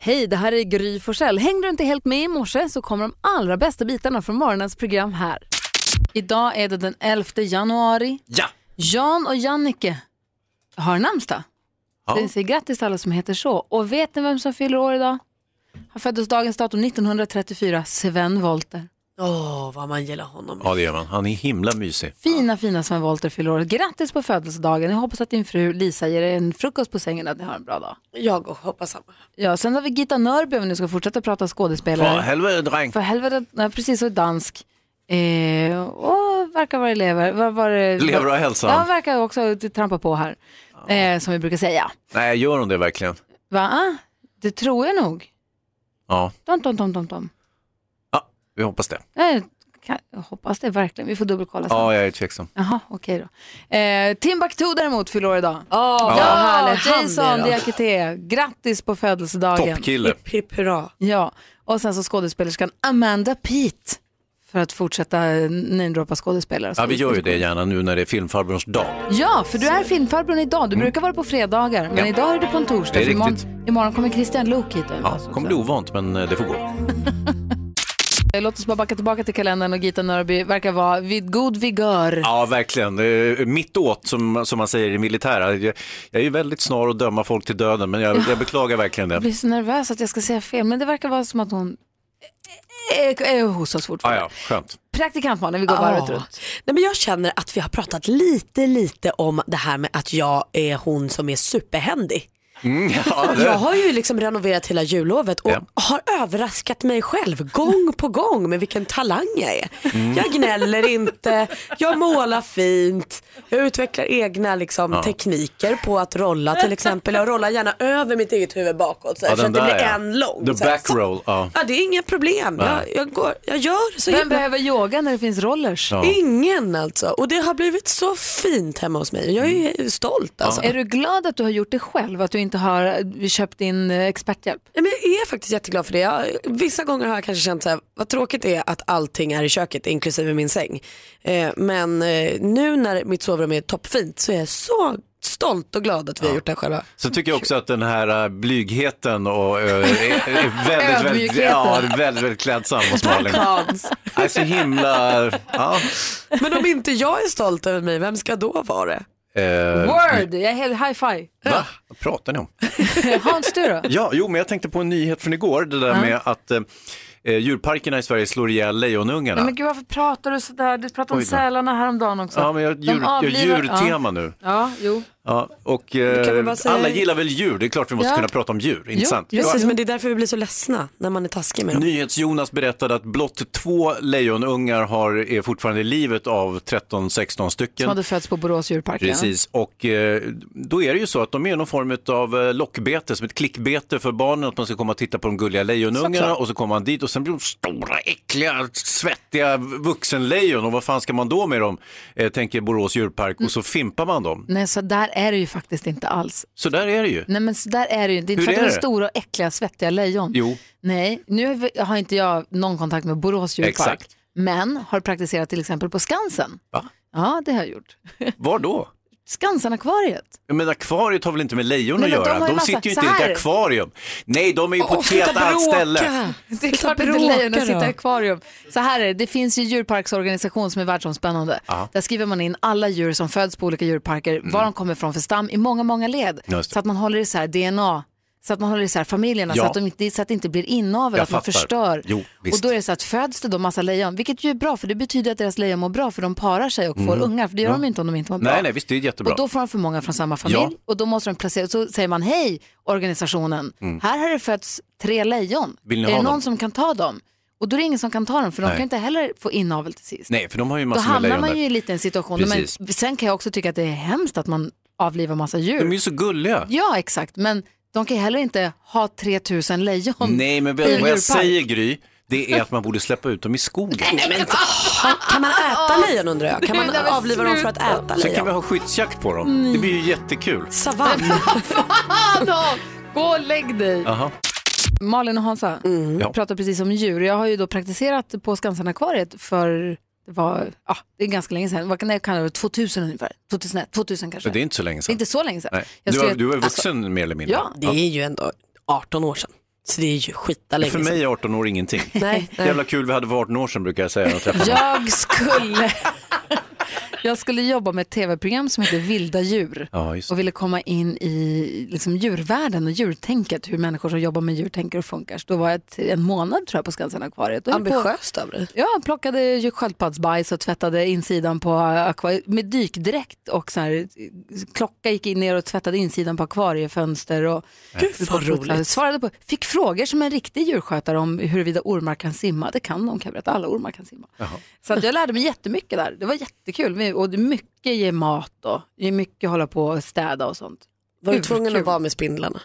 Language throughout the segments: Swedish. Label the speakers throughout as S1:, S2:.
S1: Hej, det här är Gry Forssell. Hängde du inte helt med i morse så kommer de allra bästa bitarna från morgonens program här. Idag är det den 11 januari.
S2: Ja!
S1: Jan och Jannike har namnsdag.
S2: Ja.
S1: Vi säger grattis till alla som heter så. Och vet ni vem som fyller år idag? Han föddes dagens datum 1934, Sven Wollter.
S3: Åh, vad man gillar honom.
S2: ja, det gör man. Han är himla mysig.
S1: Fina, fina Sven Wollter fyller år. Grattis på födelsedagen. Jag hoppas att din fru Lisa ger er en frukost på sängen och att ni har en bra dag.
S3: Jag och hoppas samma.
S1: Ja, sen har vi Gita Nörby om vi nu ska fortsätta prata skådespelare.
S2: Vad helvete dräng.
S1: För helvete, nej, precis, och dansk. Eh, och verkar vara elever. Var, var,
S2: Lever och hälsan.
S1: Ja, verkar också trampa på här. Eh, som vi brukar säga.
S2: Nej, gör hon det verkligen?
S1: Va? Ah, Det tror jag nog.
S2: Ja,
S1: Tom, tom, tom, tom, tom.
S2: ja vi hoppas det.
S1: Jag, Eh, kan, jag hoppas det verkligen. Vi får dubbelkolla sen.
S2: Ja, jag är tveksam.
S1: Jaha, okej då. Eh, Timbuktu däremot fyller år idag.
S3: Åh, ja,
S1: Ja,
S3: härligt. Han
S1: Jason
S3: är då.
S1: Diakité. Grattis på födelsedagen.
S2: Toppkille.
S3: Hipp, hipp, hurra.
S1: Ja, och sen så skådespelerskan Amanda Peet. För att fortsätta namedroppa skådespelare.
S2: Ja, vi gör ju det gärna nu när det är filmfarbrorns dag.
S1: Ja, för du är filmfarbrorn idag. Du brukar vara på fredagar, men idag är du på en torsdag.
S2: Mm. Det är
S1: för imorgon,
S2: riktigt.
S1: imorgon kommer Christian Luuk hit.
S2: Ja, det kommer bli ovant, men eh, det får gå.
S1: Låt oss bara backa tillbaka till kalendern och Gita Nörby verkar vara vid god vigör.
S2: Ja, verkligen. Det är Mitt åt, som, som man säger i det militära. Jag, jag är ju väldigt snar att döma folk till döden, men jag, jag beklagar verkligen
S1: Jag
S2: det.
S1: blir så nervös att jag ska säga fel, men det verkar vara som att hon är, är hos oss
S2: Ah,
S1: fortfarande.
S2: ja, skönt.
S1: Praktikant Malin, vi går varvet
S3: Ja.
S1: runt.
S3: Nej, men jag känner att vi har pratat lite, lite om det här med att jag är hon som är superhändig.
S2: Mm, ja,
S3: Jag
S2: det.
S3: har ju liksom renoverat hela jullovet och
S2: Ja.
S3: har överraskat mig själv gång på gång med vilken talang jag är.
S2: Mm.
S3: Jag gnäller inte, jag målar fint, jag utvecklar egna liksom, tekniker på att rolla till exempel. Jag rollar gärna över mitt eget huvud bakåt så, här,
S2: Ja,
S3: så
S2: den
S3: att det blir
S2: där, ja.
S3: en lång.
S2: The
S3: så här.
S2: back roll, ja.
S3: Ja, det är inga problem. Jag,
S2: Nej.
S3: jag, går, jag gör så
S1: Vem
S3: himla
S1: behöver yoga när det finns rollers?
S2: Ja.
S3: Ingen alltså. Och det har blivit så fint hemma hos mig. Jag är
S2: Mm.
S3: stolt alltså.
S1: Är du glad att du har gjort det själv, att du inte har köpt in eh, experthjälp?
S3: Ja, men jag är faktiskt jätteglad för det. Jag, vissa gånger har jag kanske känt så här, vad tråkigt det är att allting är i köket inklusive min säng. Eh, men eh, nu när mitt sovrum är toppfint så är jag så stolt och glad att vi har gjort det här själva.
S2: Sen tycker jag också att den här äh, blygheten och, äh, är, är väldigt, väldigt,
S1: Ödmjukheten.
S2: ja, det är väldigt, väldigt klädsam hos Malin. Nej, så himla... Ja,
S3: Men om inte jag är stolt över mig, vem ska då vara det?
S2: eh,
S1: Word! Jag är helt high five.
S2: va? Vad pratar ni om?
S1: Hans, du då?
S2: Ja, jo, men jag tänkte på en nyhet från igår, det där med att eh, eh, djurparkerna i Sverige slår ihjäl lejonungarna.
S1: Nej, men gud, varför pratar du sådär? Du pratade om
S2: Oj då.
S1: sälarna häromdagen också.
S2: Ja, men jag har
S1: De
S2: djur, jag har
S1: avlivar-
S2: djurtema nu.
S1: Ja, ja jo.
S2: Ja, och
S3: kan väl
S2: eh,
S3: bara säga-
S2: alla gillar väl djur, det är klart vi måste
S1: Ja.
S2: kunna prata om djur, inte sant?
S1: just
S3: Precis, men det är därför vi blir så ledsna när man är taskig med dem.
S2: NyhetsJonas berättade att blott två lejonungar har, är fortfarande i livet av 13-16
S1: Som
S2: stycken.
S1: hade fötts på Borås djurpark. ja.
S2: Precis, och eh, då är det ju så att de är någon form av eh, lockbete, som ett klickbete för barnen, att man ska komma och titta på de gulliga lejonungarna
S1: Såklart.
S2: och så kommer man dit och sen blir de stora, äckliga, svettiga vuxenlejon och vad fan ska man då med dem, eh, tänker Borås djurpark, och så fimpar man dem.
S1: Nej, så där är det ju faktiskt inte alls.
S2: Så där är det ju.
S1: Nej, men så där är det ju. Det är inte
S2: Hur
S1: för att de
S2: är
S1: är
S2: det?
S1: stora och äckliga, svettiga lejon.
S2: Jo.
S1: Nej, nu har vi- har inte jag någon kontakt med Borås djurpark.
S2: Exakt.
S1: Men har praktiserat till exempel på Skansen.
S2: Va?
S1: Ja, det har jag gjort.
S2: Var då?
S1: Skansen-akvariet.
S2: Men akvariet har väl inte med lejon
S1: Nej,
S2: att
S1: men de
S2: göra?
S1: har ju
S2: De,
S1: massa-
S2: sitter ju
S1: så
S2: inte i
S1: här.
S2: ett akvarium. Nej, de är ju på
S3: Åh,
S2: ett
S3: sluta
S2: helt annat
S3: bråka!
S2: ställe.
S1: Det är
S3: Sluta
S1: klart inte
S3: bråka
S1: lejon att
S3: då.
S1: sitta i akvarium. Så här är det, det finns ju djurparksorganisation som är världsomspännande.
S2: Ja. Mm.
S1: Där skriver man in alla djur som föds på olika djurparker, var de kommer från för stam i många, många led.
S2: Just det.
S1: Så att man håller isär DNA, så att man håller isär familjerna,
S2: Ja.
S1: så, att de inte, så att det inte blir inavel,
S2: Jag
S1: att man
S2: fattar.
S1: förstör.
S2: Jo, visst.
S1: och då är det så att föds det då massa lejon, vilket ju är bra, för det betyder att deras lejon mår bra, för de parar sig och får ungar, för det gör de inte om de inte mår bra.
S2: Mm. Nej, nej, visst, det är jättebra.
S1: Och då får de för många från samma familj
S2: Ja.
S1: och då måste de placera, så säger man hej organisationen, här har det fötts tre lejon,
S2: Mm. Vill ni
S1: är det
S2: ha
S1: någon
S2: dem?"
S1: som kan ta dem? Och då är det ingen som kan ta dem för de
S2: Nej.
S1: kan inte heller få inavel till sist.
S2: Nej, för de har ju
S1: då
S2: massor med
S1: hamnar
S2: lejon
S1: man ju
S2: där.
S1: i en liten situation.
S2: Precis.
S1: Men sen kan jag också tycka att det är hemskt att man avlivar massa djur.
S2: De är ju så gulliga.
S1: Ja, exakt, men de kan ju heller inte ha 3000 lejon.
S2: Nej, men
S1: i en
S2: vad vad jag
S1: djurpark.
S2: säger Gry, det är att man borde släppa ut dem i skogen.
S3: Nej, men, kan man äta lejon undrar jag? Kan man
S1: Sluta, men
S3: avliva dem för att äta
S2: Sen kan vi
S3: lejon?
S2: ha skyddsjakt på dem.
S1: Mm.
S2: Det blir ju jättekul.
S3: Savann.
S1: Ah, då! Gå och lägg dig.
S2: Aha.
S1: Malin och Hansa
S2: Mm. Ja.
S1: pratar precis om djur. Jag har ju då praktiserat på Skansenakvariet för det var, ja, det är ganska länge sedan, vad kan jag kalla det, 2000 ungefär, 2001, 2000 kanske.
S2: Men det är inte så länge
S1: Det är
S2: sedan.
S1: inte så länge sedan.
S2: Nej.
S1: Jag
S2: Du, har,
S1: skrev-
S2: du är vuxen
S1: alltså,
S2: mer eller mindre.
S1: ja.
S3: Det är ju ändå 18 år sedan.
S4: Så det är ju skita länge
S2: För mig är 18 år ingenting.
S4: Nej, nej.
S2: Jävla kul vi hade för 18 år sedan brukar jag säga. när jag träffar någon.
S1: Jag skulle, jag skulle jobba med ett tv-program som heter Vilda djur
S2: Ja, just det.
S1: och ville komma in i liksom, djurvärlden och djurtänket, hur människor som jobbar med djur tänker och funkar. Så då var jag ett, en månad tror jag på Skansen Akvariet. Och höll på-
S4: Ambitiöst av dig.
S1: Ja, plockade ju sköldpaddsbajs och tvättade insidan på akvariet med dykdräkt och så här, klocka gick in ner och tvättade insidan på akvariefönster och
S4: Gud vad roligt.
S1: svarade på, fick frågor som en riktig djurskötare om huruvida ormar kan simma. Det kan de kan jag berätta, alla ormar kan simma. Så att jag lärde mig jättemycket där, det var jättekul Vi- och det är mycket ge mat och det är mycket hålla på och städa och sånt.
S4: Var du
S1: Hur
S4: tvungen
S1: kul.
S4: att vara med spindlarna?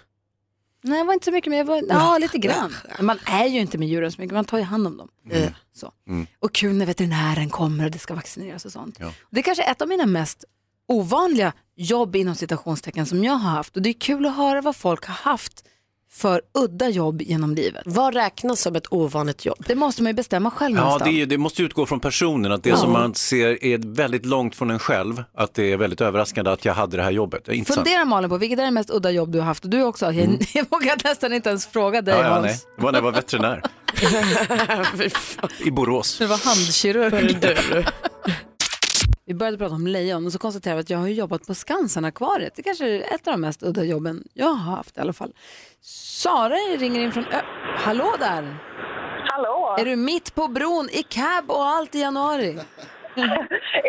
S1: Nej, det var inte så mycket, men jag var, ja, lite grann. Man är ju inte med djuren så mycket, man tar ju hand om dem.
S2: Mm.
S1: Eh, Så. Och kul när veterinären kommer och det ska vaccineras och sånt.
S2: Ja.
S1: Det är kanske är ett av mina mest ovanliga jobb inom citationstecken som jag har haft. Och det är kul att höra vad folk har haft för udda jobb genom livet.
S4: Vad räknas som ett ovanligt jobb?
S1: Det måste man ju bestämma själv
S2: Ja, det,
S1: någonstans.
S2: är, ju- det måste ju utgå från personen, att det som man ser är väldigt långt från en själv, att det är väldigt överraskande att jag hade det här jobbet. Det är intressant. Mm.
S1: Fundera Malin på vilket är det mest udda jobb du har haft? Och du också, jag, jag vågar nästan inte ens fråga dig
S2: Ja, ja, nej.
S1: Hans.
S2: Det var när jag var veterinär i Borås.
S1: Du var handkirurg. Vi började prata om lejon och så konstaterade vi att jag har ju jobbat på Skansen-akvariet. Det kanske är ett av de mest udda jobben jag har haft i alla fall. Sara ringer in från Ö... Hallå där!
S5: Hallå!
S1: Är du mitt på bron i cab och allt i januari?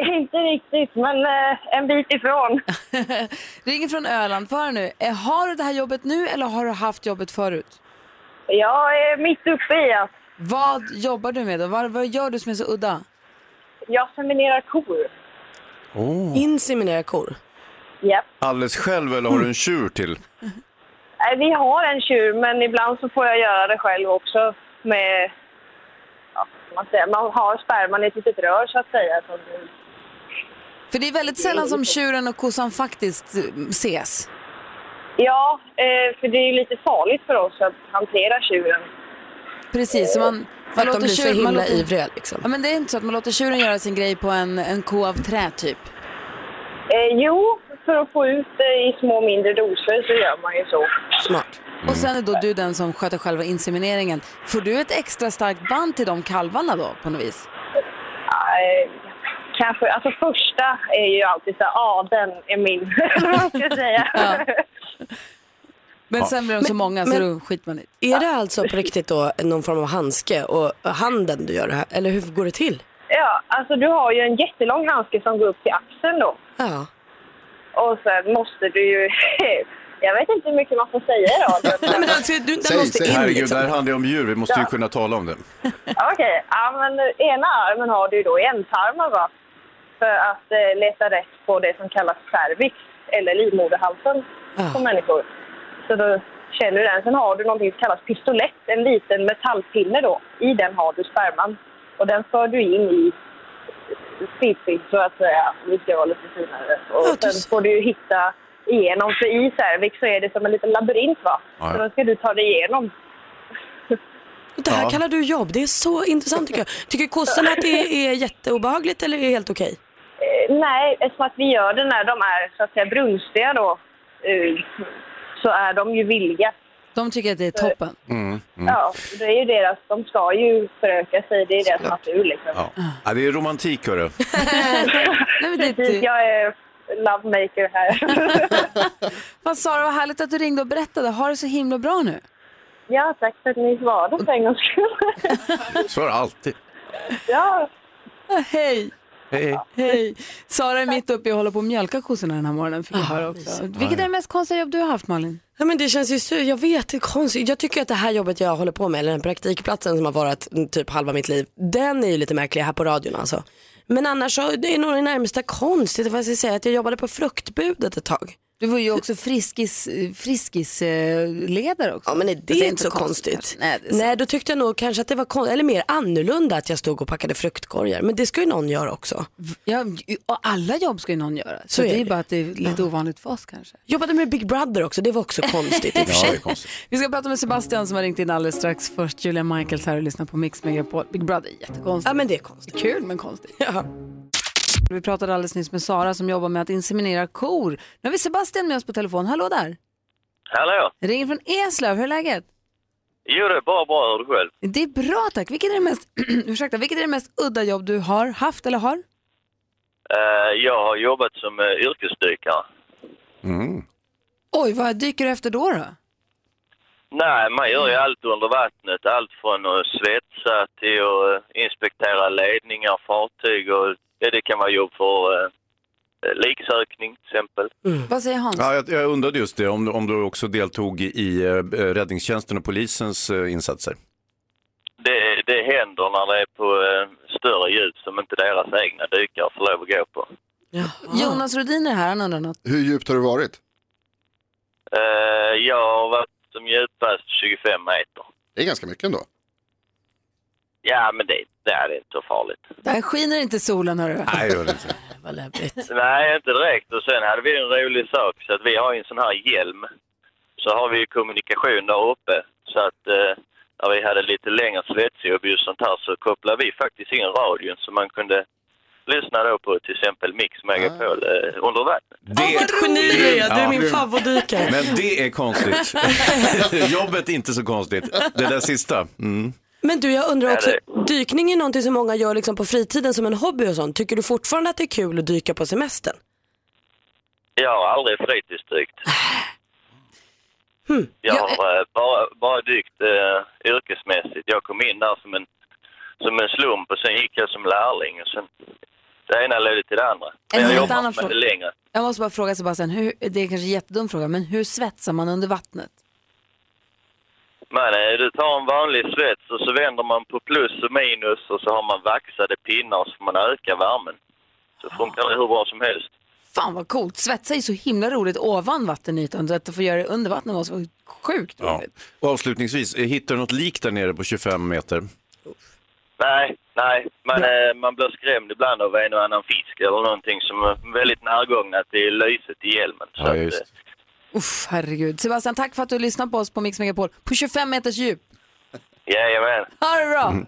S5: Inte riktigt, men eh, en bit ifrån.
S1: ringer från Öland. För nu, Eh, har du det här jobbet nu eller har du haft jobbet förut?
S5: Jag är mitt uppe i att
S1: Vad jobbar du med då? Vad, vad gör du som är så udda?
S5: jag seminerar kor.
S2: Oh.
S4: Inseminera kor.
S5: Japp.
S2: Alldeles själv eller har du en tjur till?
S5: Eh, Vi har en tjur, men ibland så får jag göra det själv också. Med, ja, vad man, säger, man har sperman i ett litet rör, så att säga. som-
S1: För det är väldigt sällan som tjuren och kossan faktiskt eh, ses.
S5: Ja, eh, för det är ju lite farligt för oss att hantera tjuren.
S1: Precis, så man,
S4: För
S1: man
S4: att de
S1: låter
S4: blir så
S1: tjur- man
S4: himla
S1: låter-
S4: ivriga liksom.
S1: Ja, men det är inte så att man låter tjuren göra sin grej på en, en ko av trä typ.
S5: Eh, jo, för att få ut det i små mindre doser så gör man ju så.
S4: Smart.
S1: Och sen är då du den som sköter själva insemineringen. Får du ett extra starkt band till de kalvarna då på något vis?
S5: Eh, kanske, alltså första är ju alltid så här, ah, den är min, eller vad man ska säga.
S1: Men sen blir de så många så
S4: men-
S1: då skiter man i det.
S4: Är det alltså på riktigt då någon form av handske och handen du gör det här? Eller hur går det till?
S5: ja, alltså du har ju en jättelång handske som går upp till axeln då.
S4: Ja.
S5: Och sen måste du ju, jag vet inte hur mycket man får säga i
S4: Nej,
S5: radion.
S4: men alltså, du, den
S2: Säg,
S4: måste
S2: säg,
S4: in
S2: herregud, det
S4: liksom.
S2: här handlar ju om djur, vi måste ju kunna tala om det.
S5: Ja, Okej, ja men ena armen har du ju då i ändtarmen va. För att eh, leta rätt på det som kallas cervix, eller livmoderhalsen
S4: Ja.
S5: på människor. Så då känner du den. Sen har du någonting som kallas pistolett, en liten metallpinne då. I den har du sperman. Och den för du in i fiffigt så att säga. Vi ska vara lite finare. Och
S4: Ja, du
S5: sen
S4: ser.
S5: får du ju hitta igenom, för i cervix så är det som en liten labyrint va.
S2: Ja, ja.
S5: Så då ska du ta dig igenom.
S4: Det här
S2: Ja.
S4: kallar du jobb. Det är så intressant tycker jag. Tycker kossorna att det är, är jätteobehagligt eller är det helt okej?
S5: Eh, Nej, eftersom att vi gör det när de är så att säga brunstiga då, eh, så är de ju villiga.
S1: De tycker att det är toppen.
S2: Mm. Mm.
S5: Ja, det är ju deras, de ska ju föröka sig, det är deras natur liksom.
S2: Ja. Ja, det är romantik, hörru.
S1: Nej, men det,
S5: Precis,
S1: det.
S5: jag är lovemaker här.
S1: Vad Sara, vad härligt att du ringde och berättade. Har det så himla bra nu.
S5: ja, tack för att ni svarade för en gångs skull.
S2: Så är det alltid.
S5: ja,
S1: Hej!
S2: Hej.
S1: Hej! Sara är mitt uppe i och håller på att mjölka kossorna den här morgonen. Fick jag höra också. Vilket är Ah, det mest konstiga jobb du har haft Malin?
S4: Ja, men det känns ju så, jag vet, det är konstigt. Jag tycker att det här jobbet jag håller på med, eller den praktikplatsen som har varit mm, typ halva mitt liv, den är ju lite märklig här på radion alltså. Men annars så, det är nog det närmsta konstigt, vad ska jag säga, att jag jobbade på fruktbudet ett tag.
S1: Du var ju också friskis, friskisledare också.
S4: Ja men är det,
S1: är
S4: är
S1: inte
S4: inte så
S1: konstigt.
S4: konstigt.
S1: Nej, det är
S4: Nej då tyckte jag nog kanske att det var konstigt, eller mer annorlunda att jag stod och packade fruktkorgar. Men det ska ju någon göra också.
S1: Ja, och alla jobb ska ju någon göra. Så,
S4: Så är
S1: det är
S4: det.
S1: bara att det är lite ovanligt för oss kanske.
S4: Jobbade med Big Brother också, det var också konstigt i och för
S2: Ja, det är
S4: sig.
S2: konstigt.
S1: Vi ska prata med Sebastian som har ringt in alldeles strax. Först Julia Michaels här och lyssnar på Mix Megapol. Big Brother är jättekonstigt.
S4: Ja men det är konstigt.
S1: Kul men konstigt.
S4: Ja.
S1: Vi pratade alldeles nyss med Sara som jobbar med att inseminera kor. Nu har vi Sebastian med oss på telefon. Hallå där!
S6: Hallå,
S1: Ringer från Eslöv. Hur är läget?
S7: Jo, det är bara bra. Hör du själv?
S1: Det är bra tack. Vilket är det mest, ursäkta, vilket är det mest udda jobb du har haft eller har?
S7: Eh, jag har jobbat som eh, yrkesdykare.
S1: Oj, vad dyker du efter då? då?
S7: Nej, man gör ju allt under vattnet. Allt från att svetsa till att eh, inspektera ledningar, fartyg och ja, det kan vara jobb för eh, liksökning till exempel.
S1: Vad säger Hans?
S2: Ja, jag, jag undrade just det, om, du- om du också deltog i eh, räddningstjänsten och polisens eh, insatser.
S7: Det, det händer när det är på eh, större djup som inte deras egna dykare får lov att gå på.
S1: Jonas Rhodin är här, han undrar något.
S8: Hur djupt har det varit?
S7: Eh, jag har varit som djupast 25 meter.
S8: Det är ganska mycket ändå.
S7: Ja, men det, det är inte så farligt.
S1: Där skiner inte solen hörru.
S2: Nej, jag gör det inte.
S3: Vad läbbigt.
S7: Nej, inte direkt. Och sen hade vi en rolig sak, så att vi har ju en sån här hjälm. Så har vi ju kommunikation där uppe. Så att eh, när vi hade lite längre svetsjobb och sånt här så kopplade vi faktiskt in radion så man kunde lyssna då på till exempel Mix Megapol eh, under vattnet.
S2: Det,
S3: Vilket geni du är, du är
S2: Ja.
S3: min favoritdykare.
S2: men det är konstigt. Jobbet är inte så konstigt. Det där sista. Mm.
S3: Men du jag undrar också,
S7: Ja,
S3: dykning är någonting som många gör liksom på fritiden som en hobby och sånt. Tycker du fortfarande att det är kul att dyka på semestern?
S7: Jag har aldrig fritidsdykt.
S1: Hmm.
S7: Jag har eh, bara, bara dykt eh, yrkesmässigt. Jag kom in där som en, som en slump och sen gick jag som lärling. Och sen, det ena ledde till det andra. Men
S1: En
S7: jag
S1: helt
S7: jobbar
S1: annan
S7: med det
S1: fråga.
S7: längre.
S1: Jag måste bara fråga Sebastian, hur, det är kanske en jättedum fråga, men hur svetsar man under vattnet?
S7: Men eh, du tar en vanlig svets och så vänder man på plus och minus och så har man vaxade pinnar och så får man öka värmen. Så funkar det hur bra som helst.
S1: Fan vad coolt, svetsa är ju så himla roligt ovan vattenytan, så att få göra det under vattnet var så sjukt
S2: Ja.
S1: roligt.
S2: Och avslutningsvis, eh, hittar du något lik där nere på 25 meter?
S7: Nej, nej. Man, eh, man blir skrämd ibland av en och annan fisk eller någonting som är väldigt närgångna till lyset i hjälmen. Så
S2: Ja,
S7: att,
S2: just.
S7: eh,
S1: Uff, herregud. Sebastian, tack för att du lyssnar på oss på Mix Megapol på 25 meters djup.
S7: eh, Jajamän.
S1: Ha det bra!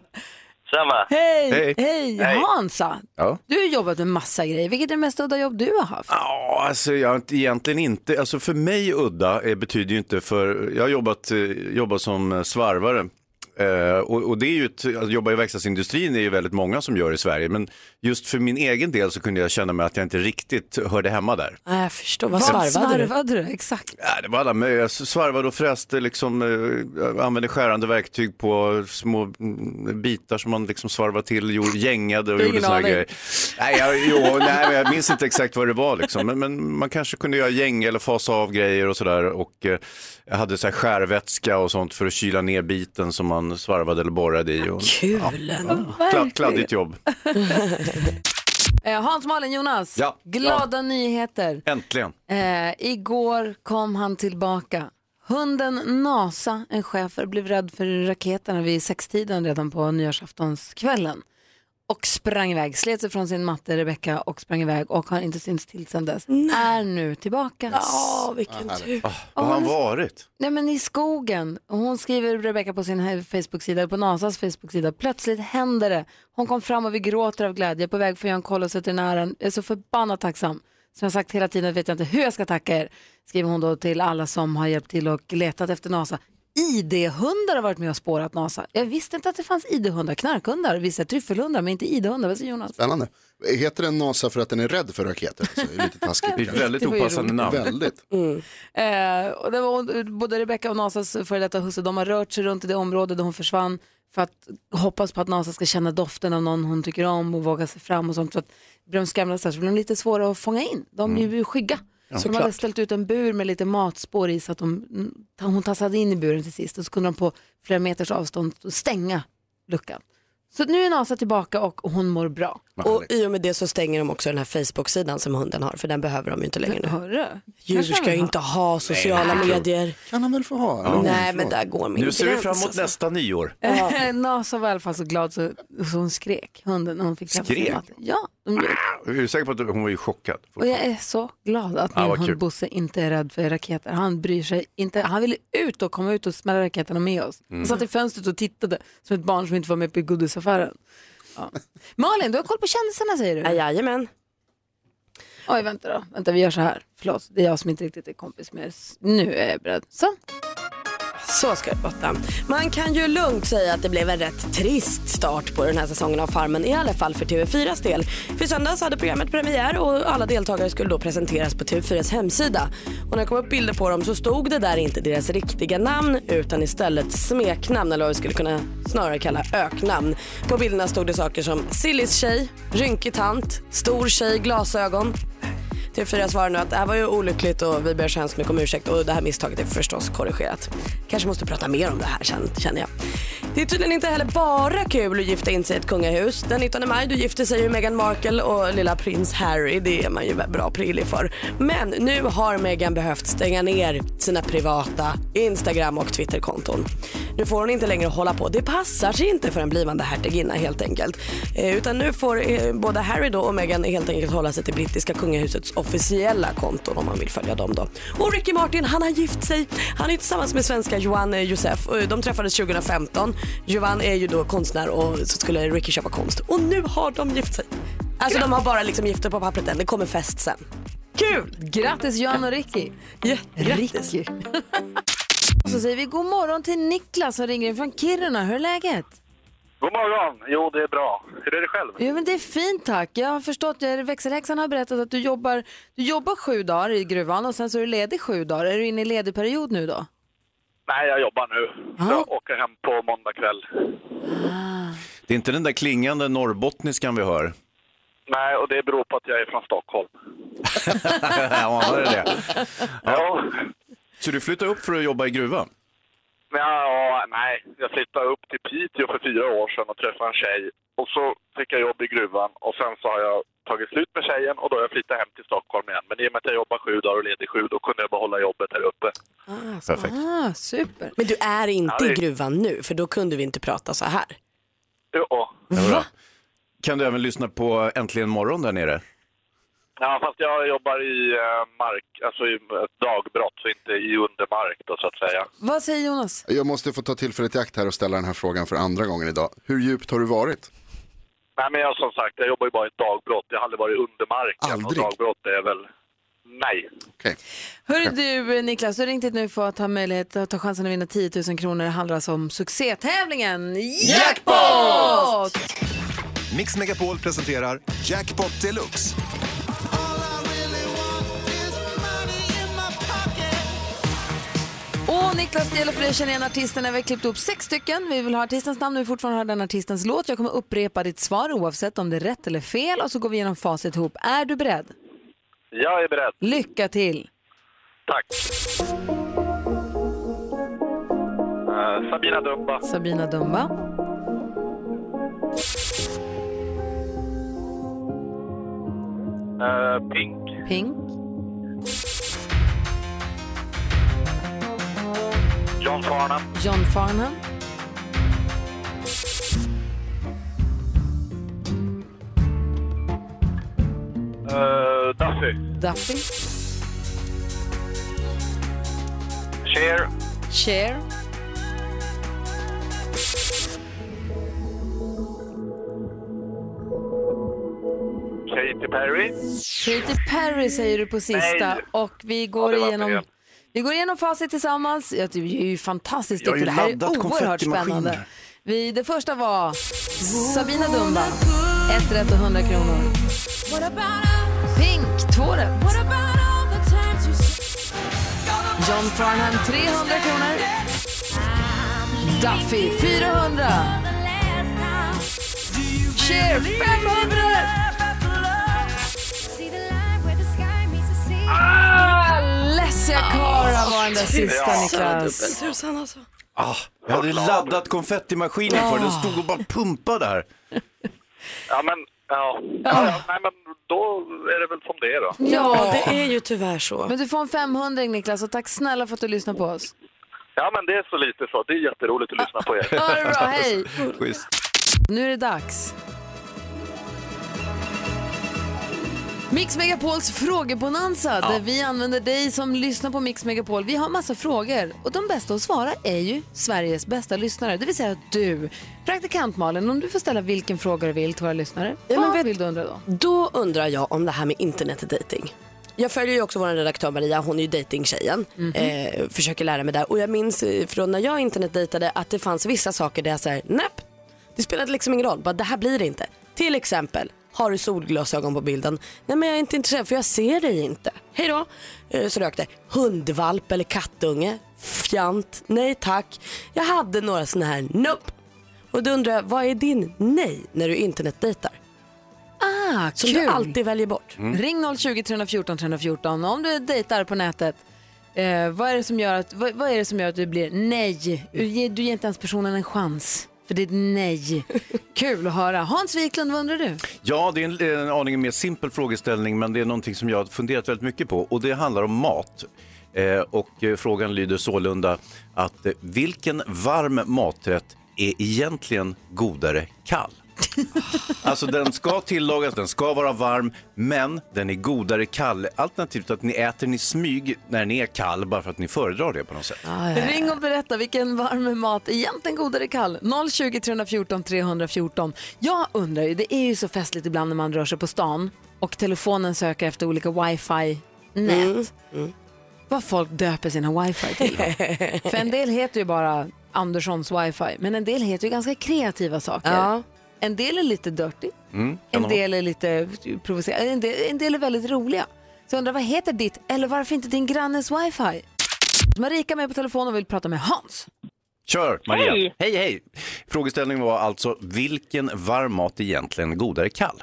S7: Samma.
S1: Hej!
S2: Hej.
S1: Hej!
S7: Hej.
S1: Hansa,
S2: Ja.
S1: du har jobbat med massa grejer. Vilket är det mest udda jobb du har haft?
S2: Ja, alltså jag har inte- egentligen inte. Alltså för mig udda eh, betyder ju inte för, jag har jobbat, eh, jobbat som eh, svarvare. Eh, och, och det är ju ett, att jobba i verkstadsindustrin är ju väldigt många som gör i Sverige. Men just för min egen del så kunde jag känna mig att jag inte riktigt hörde hemma där.
S3: Nej jag förstår, vad svarvade du?
S1: svarvade du? Exakt.
S2: Ja, det var alla möjliga. Jag svarvade och fräste, liksom, eh, jag använde skärande verktyg på små mm, bitar som man liksom svarvade till, gjorde, gängade och
S1: har
S2: gjorde
S1: ingen
S2: sådana
S1: aning.
S2: grejer. Nej, jag, jo, nej, men jag minns inte exakt vad det var, liksom. men, men man kanske kunde göra gäng eller fasa av grejer och sådär. Och eh, jag hade så här skärvätska och sånt för att kyla ner biten som man svarvade eller borrade i. Och,
S3: Kul ändå.
S2: kladd, kladdigt jobb,
S1: Eh, Hans, Malin, Jonas.
S2: Ja.
S1: Glada nyheter.
S2: äntligen.
S1: Eh, igår kom han tillbaka. Hunden Nasa, en schäfer, blev rädd för raketerna vid sextiden redan på nyårsaftonskvällen och sprang iväg, slet sig från sin matte Rebecca och sprang iväg och har inte synts till sedan dess. Är nu tillbaka.
S3: Ja, vilken tur.
S2: Var har han varit?
S1: Nej men i skogen. Och Hon skriver Rebecca på sin he- Facebook-sida, eller på NASAs Facebook-sida. Plötsligt händer det. Hon kom fram och vi gråter av glädje. Jag är På väg för att göra en koll hos veterinären. Jag är så förbannat tacksam. Som jag sagt hela tiden vet jag inte hur jag ska tacka er. Skriver hon då till alla som har hjälpt till och letat efter NASA. ID-hundar har varit med och spårat NASA. Jag visste inte att det fanns ID-hundar, knarkhundar, vissa tryffelhundar, men inte ID-hundar. Vad säger Jonas?
S8: Spännande. Heter den NASA för att den är rädd för raketer? Så det är lite taskigt.
S2: Det är
S8: kanske.
S2: ett väldigt
S1: Det var ju
S2: opassande
S1: roligt.
S2: namn.
S8: Väldigt.
S3: Mm.
S1: Eh, och det var, både Rebecca och Nasas före detta husse, de har rört sig runt i det område där hon försvann för att hoppas på att Nasa ska känna doften av någon hon tycker om och våga sig fram och sånt. Så att blir de skrämda så här så blir de lite svåra att fånga in. De är
S3: Mm.
S1: ju skygga. så de hade ställt ut en bur med lite matspår i så att de, mm, ta- hon tassade in i buren till sist och så kunde de på flera meters avstånd stänga luckan. Så nu är Nasa tillbaka och hon mår bra.
S3: Och i och med det så stänger de också den här Facebook-sidan som hunden har för den behöver de ju inte längre nu.
S1: Hörru,
S3: Djur
S1: kanske
S3: ska
S1: han
S3: ju
S1: har.
S3: inte ha sociala medier.
S8: Kan han väl få ha? Eller hon,
S3: Nej men
S8: förlåt.
S3: där går min
S2: Nu ser vi
S3: gräns,
S2: fram emot
S3: alltså.
S2: nästa nyår.
S1: Nasa var i alla fall så glad så, så hon skrek, hunden, när hon fick träffa sin
S2: Skrek?
S1: matte. Ja, de gjorde.
S2: Är du säker på att du- hon var ju chockad?
S1: Och jag är så glad att
S2: Ja,
S1: min
S2: vad
S1: hund
S2: kul.
S1: Bosse inte är rädd för raketer. Han bryr sig inte. Han ville ut och komma ut och smälla raketerna med oss.
S2: Mm.
S1: Han satt i fönstret och tittade som ett barn som inte var med på godisaffären. Ja. Malin, du har koll på kändisarna säger
S3: Ja,
S1: du?
S3: jajamän.
S1: Oj, vänta då. Vänta, vi gör så här. Förlåt, det är jag som inte riktigt är kompis med er. Nu är jag beredd. Så.
S3: Så ska det botta. Man kan ju lugnt säga att det blev en rätt trist start på den här säsongen av Farmen, i alla fall för TV4s del. För söndags hade programmet premiär och alla deltagare skulle då presenteras på TV4s hemsida. Och när det kom upp bilder på dem så stod det där inte deras riktiga namn utan istället smeknamn, eller vad vi skulle kunna snarare kalla öknamn. På bilderna stod det saker som sillis tjej, rynkig tant, stor tjej, glasögon. TV4 svarar nu att det här var ju olyckligt och vi ber så hemskt mycket om ursäkt och det här misstaget är förstås korrigerat. Kanske måste prata mer om det här sen känner jag. Det är tydligen inte heller bara kul att gifta in sig i ett kungahus. Den 19 maj då gifte sig ju Meghan Markle och lilla prins Harry. Det är man ju bra prillig för. Men nu har Meghan behövt stänga ner sina privata Instagram och Twitterkonton. Nu får hon inte längre hålla på. Det passar sig inte för en blivande hertiginna helt enkelt. Eh, utan nu får eh, både Harry då och Meghan helt enkelt hålla sig till brittiska kungahusets officiella konton om man vill följa dem då. Och Ricky Martin han har gift sig. Han är tillsammans med svenska Johan eh, Josef. Eh, De träffades 2015. Johan är ju då konstnär och så skulle Ricky köpa konst. Och nu har de gift sig. Alltså de har bara liksom gift sig på pappret än. Det kommer fest sen. Kul!
S1: Grattis Johan och Ricky.
S3: Jättegrattis.
S1: Ricky. Och så säger vi god morgon till Niklas som ringer in från Kiruna. Hur är läget?
S9: God morgon! Jo, det är bra. Hur är det själv?
S1: Jo, men det är fint tack. Jag har förstått, jag- växelhäxan har berättat att du jobbar, du jobbar sju dagar i gruvan och sen så är du ledig sju dagar. Är du inne i ledig period nu då?
S9: Nej, jag jobbar nu. Jag åker hem på måndag kväll.
S2: Det är inte den där klingande norrbottniskan vi hör.
S9: Nej, och det beror på att jag är från Stockholm.
S2: ja, var det det?
S9: Ja.
S2: Så du flyttar upp för att jobba i gruvan?
S9: Men ja, nej, jag flyttade upp till Piteå för fyra år sedan och träffade en tjej. Och så fick jag jobb i gruvan och sen så har jag tagit slut med tjejen och då har jag flyttat hem till Stockholm igen. Men i och med att jag jobbar sju dagar och ledig sju, då kunde jag behålla jobbet här uppe.
S2: Perfekt.
S1: Ah, super.
S3: Men du är inte
S9: Ja, det-
S3: i gruvan nu för då kunde vi inte prata så här.
S9: Jo.
S2: Det var bra. Kan du även lyssna på Äntligen morgon där nere?
S9: Ja, fast jag jobbar i eh, mark, alltså i ett dagbrott, så inte i undermark då så att säga.
S1: Vad säger Jonas?
S8: Jag måste få ta tillfället i akt här och ställa den här frågan för andra gången idag. Hur djupt har du varit?
S9: Nej, men jag som sagt, jag jobbar ju bara i ett dagbrott. Jag har aldrig varit under marken.
S8: Aldrig?
S9: Och dagbrott är väl... Nej.
S8: Okej.
S1: Hör du Niklas, du har ringt hit nu för att ha möjlighet att ta chansen att vinna 10 000 kronor. Det handlar alltså om succétävlingen Jackpot!
S10: Mix Megapol presenterar Jackpot Deluxe.
S1: Och Niklas, det gäller för dig att känna igen artisterna. Vi har klippt upp sex stycken. Vi vill ha artistens namn och vi vill fortfarande ha den artistens låt. Jag kommer upprepa ditt svar oavsett om det är rätt eller fel och så går vi igenom facit ihop. Är du beredd?
S9: Jag är beredd.
S1: Lycka till!
S9: Tack. Eh, Sabina Dumba.
S1: Sabina Dumba,
S9: Eh, Pink.
S1: Pink,
S9: John Farnham.
S1: John Farnham,
S9: eh, Duffy.
S1: Duffy,
S9: Cher.
S1: Cher,
S9: Katy Perry.
S1: Katy Perry säger du på sista.
S9: Nej.
S1: Och vi går,
S9: Ja, det var
S1: igenom,
S9: fel.
S1: vi går igenom facit tillsammans. Ja, det är ju fantastiskt
S2: Jag har ju
S1: duktig. Det här är
S2: laddat
S1: oerhört
S2: konfettimaskiner.
S1: spännande. Vi, det första var Sabina Dumba. Ett rätt och 100 kronor. Pink, två rätt. John Farnham, 300 kronor. Duffy, 400. Cher, 500.
S3: Ah!
S1: Alessia Cara var den där sista,
S9: Ja.
S1: Niklas.
S3: Dubbeltusan alltså.
S2: Ah, jag hade laddat konfettimaskinen för den stod och bara pumpade här.
S9: Ja, men... Ja. Ja, ja, nej, men då är det väl som det är då.
S3: Ja, det är ju tyvärr så.
S1: Men du får en 500 Niklas och tack snälla för att du lyssnar på oss.
S9: Ja, men det är så lite så. Det är jätteroligt att lyssna på er.
S1: Ha det bra, hej!
S2: Schysst.
S1: Nu är det dags. Mix Megapols frågebonanza där vi använder dig som lyssnar på Mix Megapol. Vi har massa frågor och de bästa att svara är ju Sveriges bästa lyssnare, det vill säga du. Praktikant Malin, om du får ställa vilken fråga du vill till våra lyssnare,
S3: Ja, men
S1: vad
S3: vet-
S1: vill du undra då?
S3: Då undrar jag om det här med internetdating. Jag följer ju också vår redaktör Maria, hon är ju dejtingtjejen. Eh, försöker lära mig där. Och jag minns eh, från när jag internetdejtade att det fanns vissa saker där jag säger näpp, det spelade liksom ingen roll, bara det här blir det inte. Till exempel, har du solglasögon på bilden? Nej men jag är inte intresserad för jag ser dig inte. Hej då! Eh, Så rökte Hundvalp eller kattunge? Fjant, nej tack. Jag hade några sådana här nope. Och då undrar jag, vad är din nej när du internetdejtar?
S1: Ah,
S3: Som
S1: kul.
S3: du alltid väljer bort.
S1: Ring 020 314 314 om du dejtar på nätet. Eh, vad, är det som gör att, vad, vad är det som gör att du blir nej? Du ger, du ger inte ens personen en chans. För det är ett nej. Kul att höra. Hans Wiklund, vad undrar du?
S2: Ja, det är en, en aning mer simpel frågeställning, men det är någonting som jag har funderat väldigt mycket på och det handlar om mat. Eh, och eh, frågan lyder sålunda att eh, vilken varm maträtt är egentligen godare kall? Alltså den ska tillagas, den ska vara varm, men den är godare kall. Alternativt att ni äter den i smyg när den är kall, bara för att ni föredrar det på något sätt.
S1: Ring och berätta vilken varm mat egentligen godare kall. 020 314 314. Jag undrar ju, det är ju så festligt ibland när man rör sig på stan och telefonen söker efter olika wifi-nät. Vad folk döper sina wifi till. För en del heter ju bara Anderssons wifi, men en del heter ju ganska kreativa saker.
S3: Ja.
S1: En del är lite dirty,
S2: Mm, kan
S1: en
S2: ha-
S1: del är lite provocerande, en del, en del är väldigt roliga. Så jag undrar, vad heter ditt, eller varför inte din grannes wifi? Marika är med på telefon och vill prata med Hans.
S2: Kör, Maria.
S5: Hej.
S2: hej! hej. Frågeställningen var alltså vilken varm mat egentligen godare kall?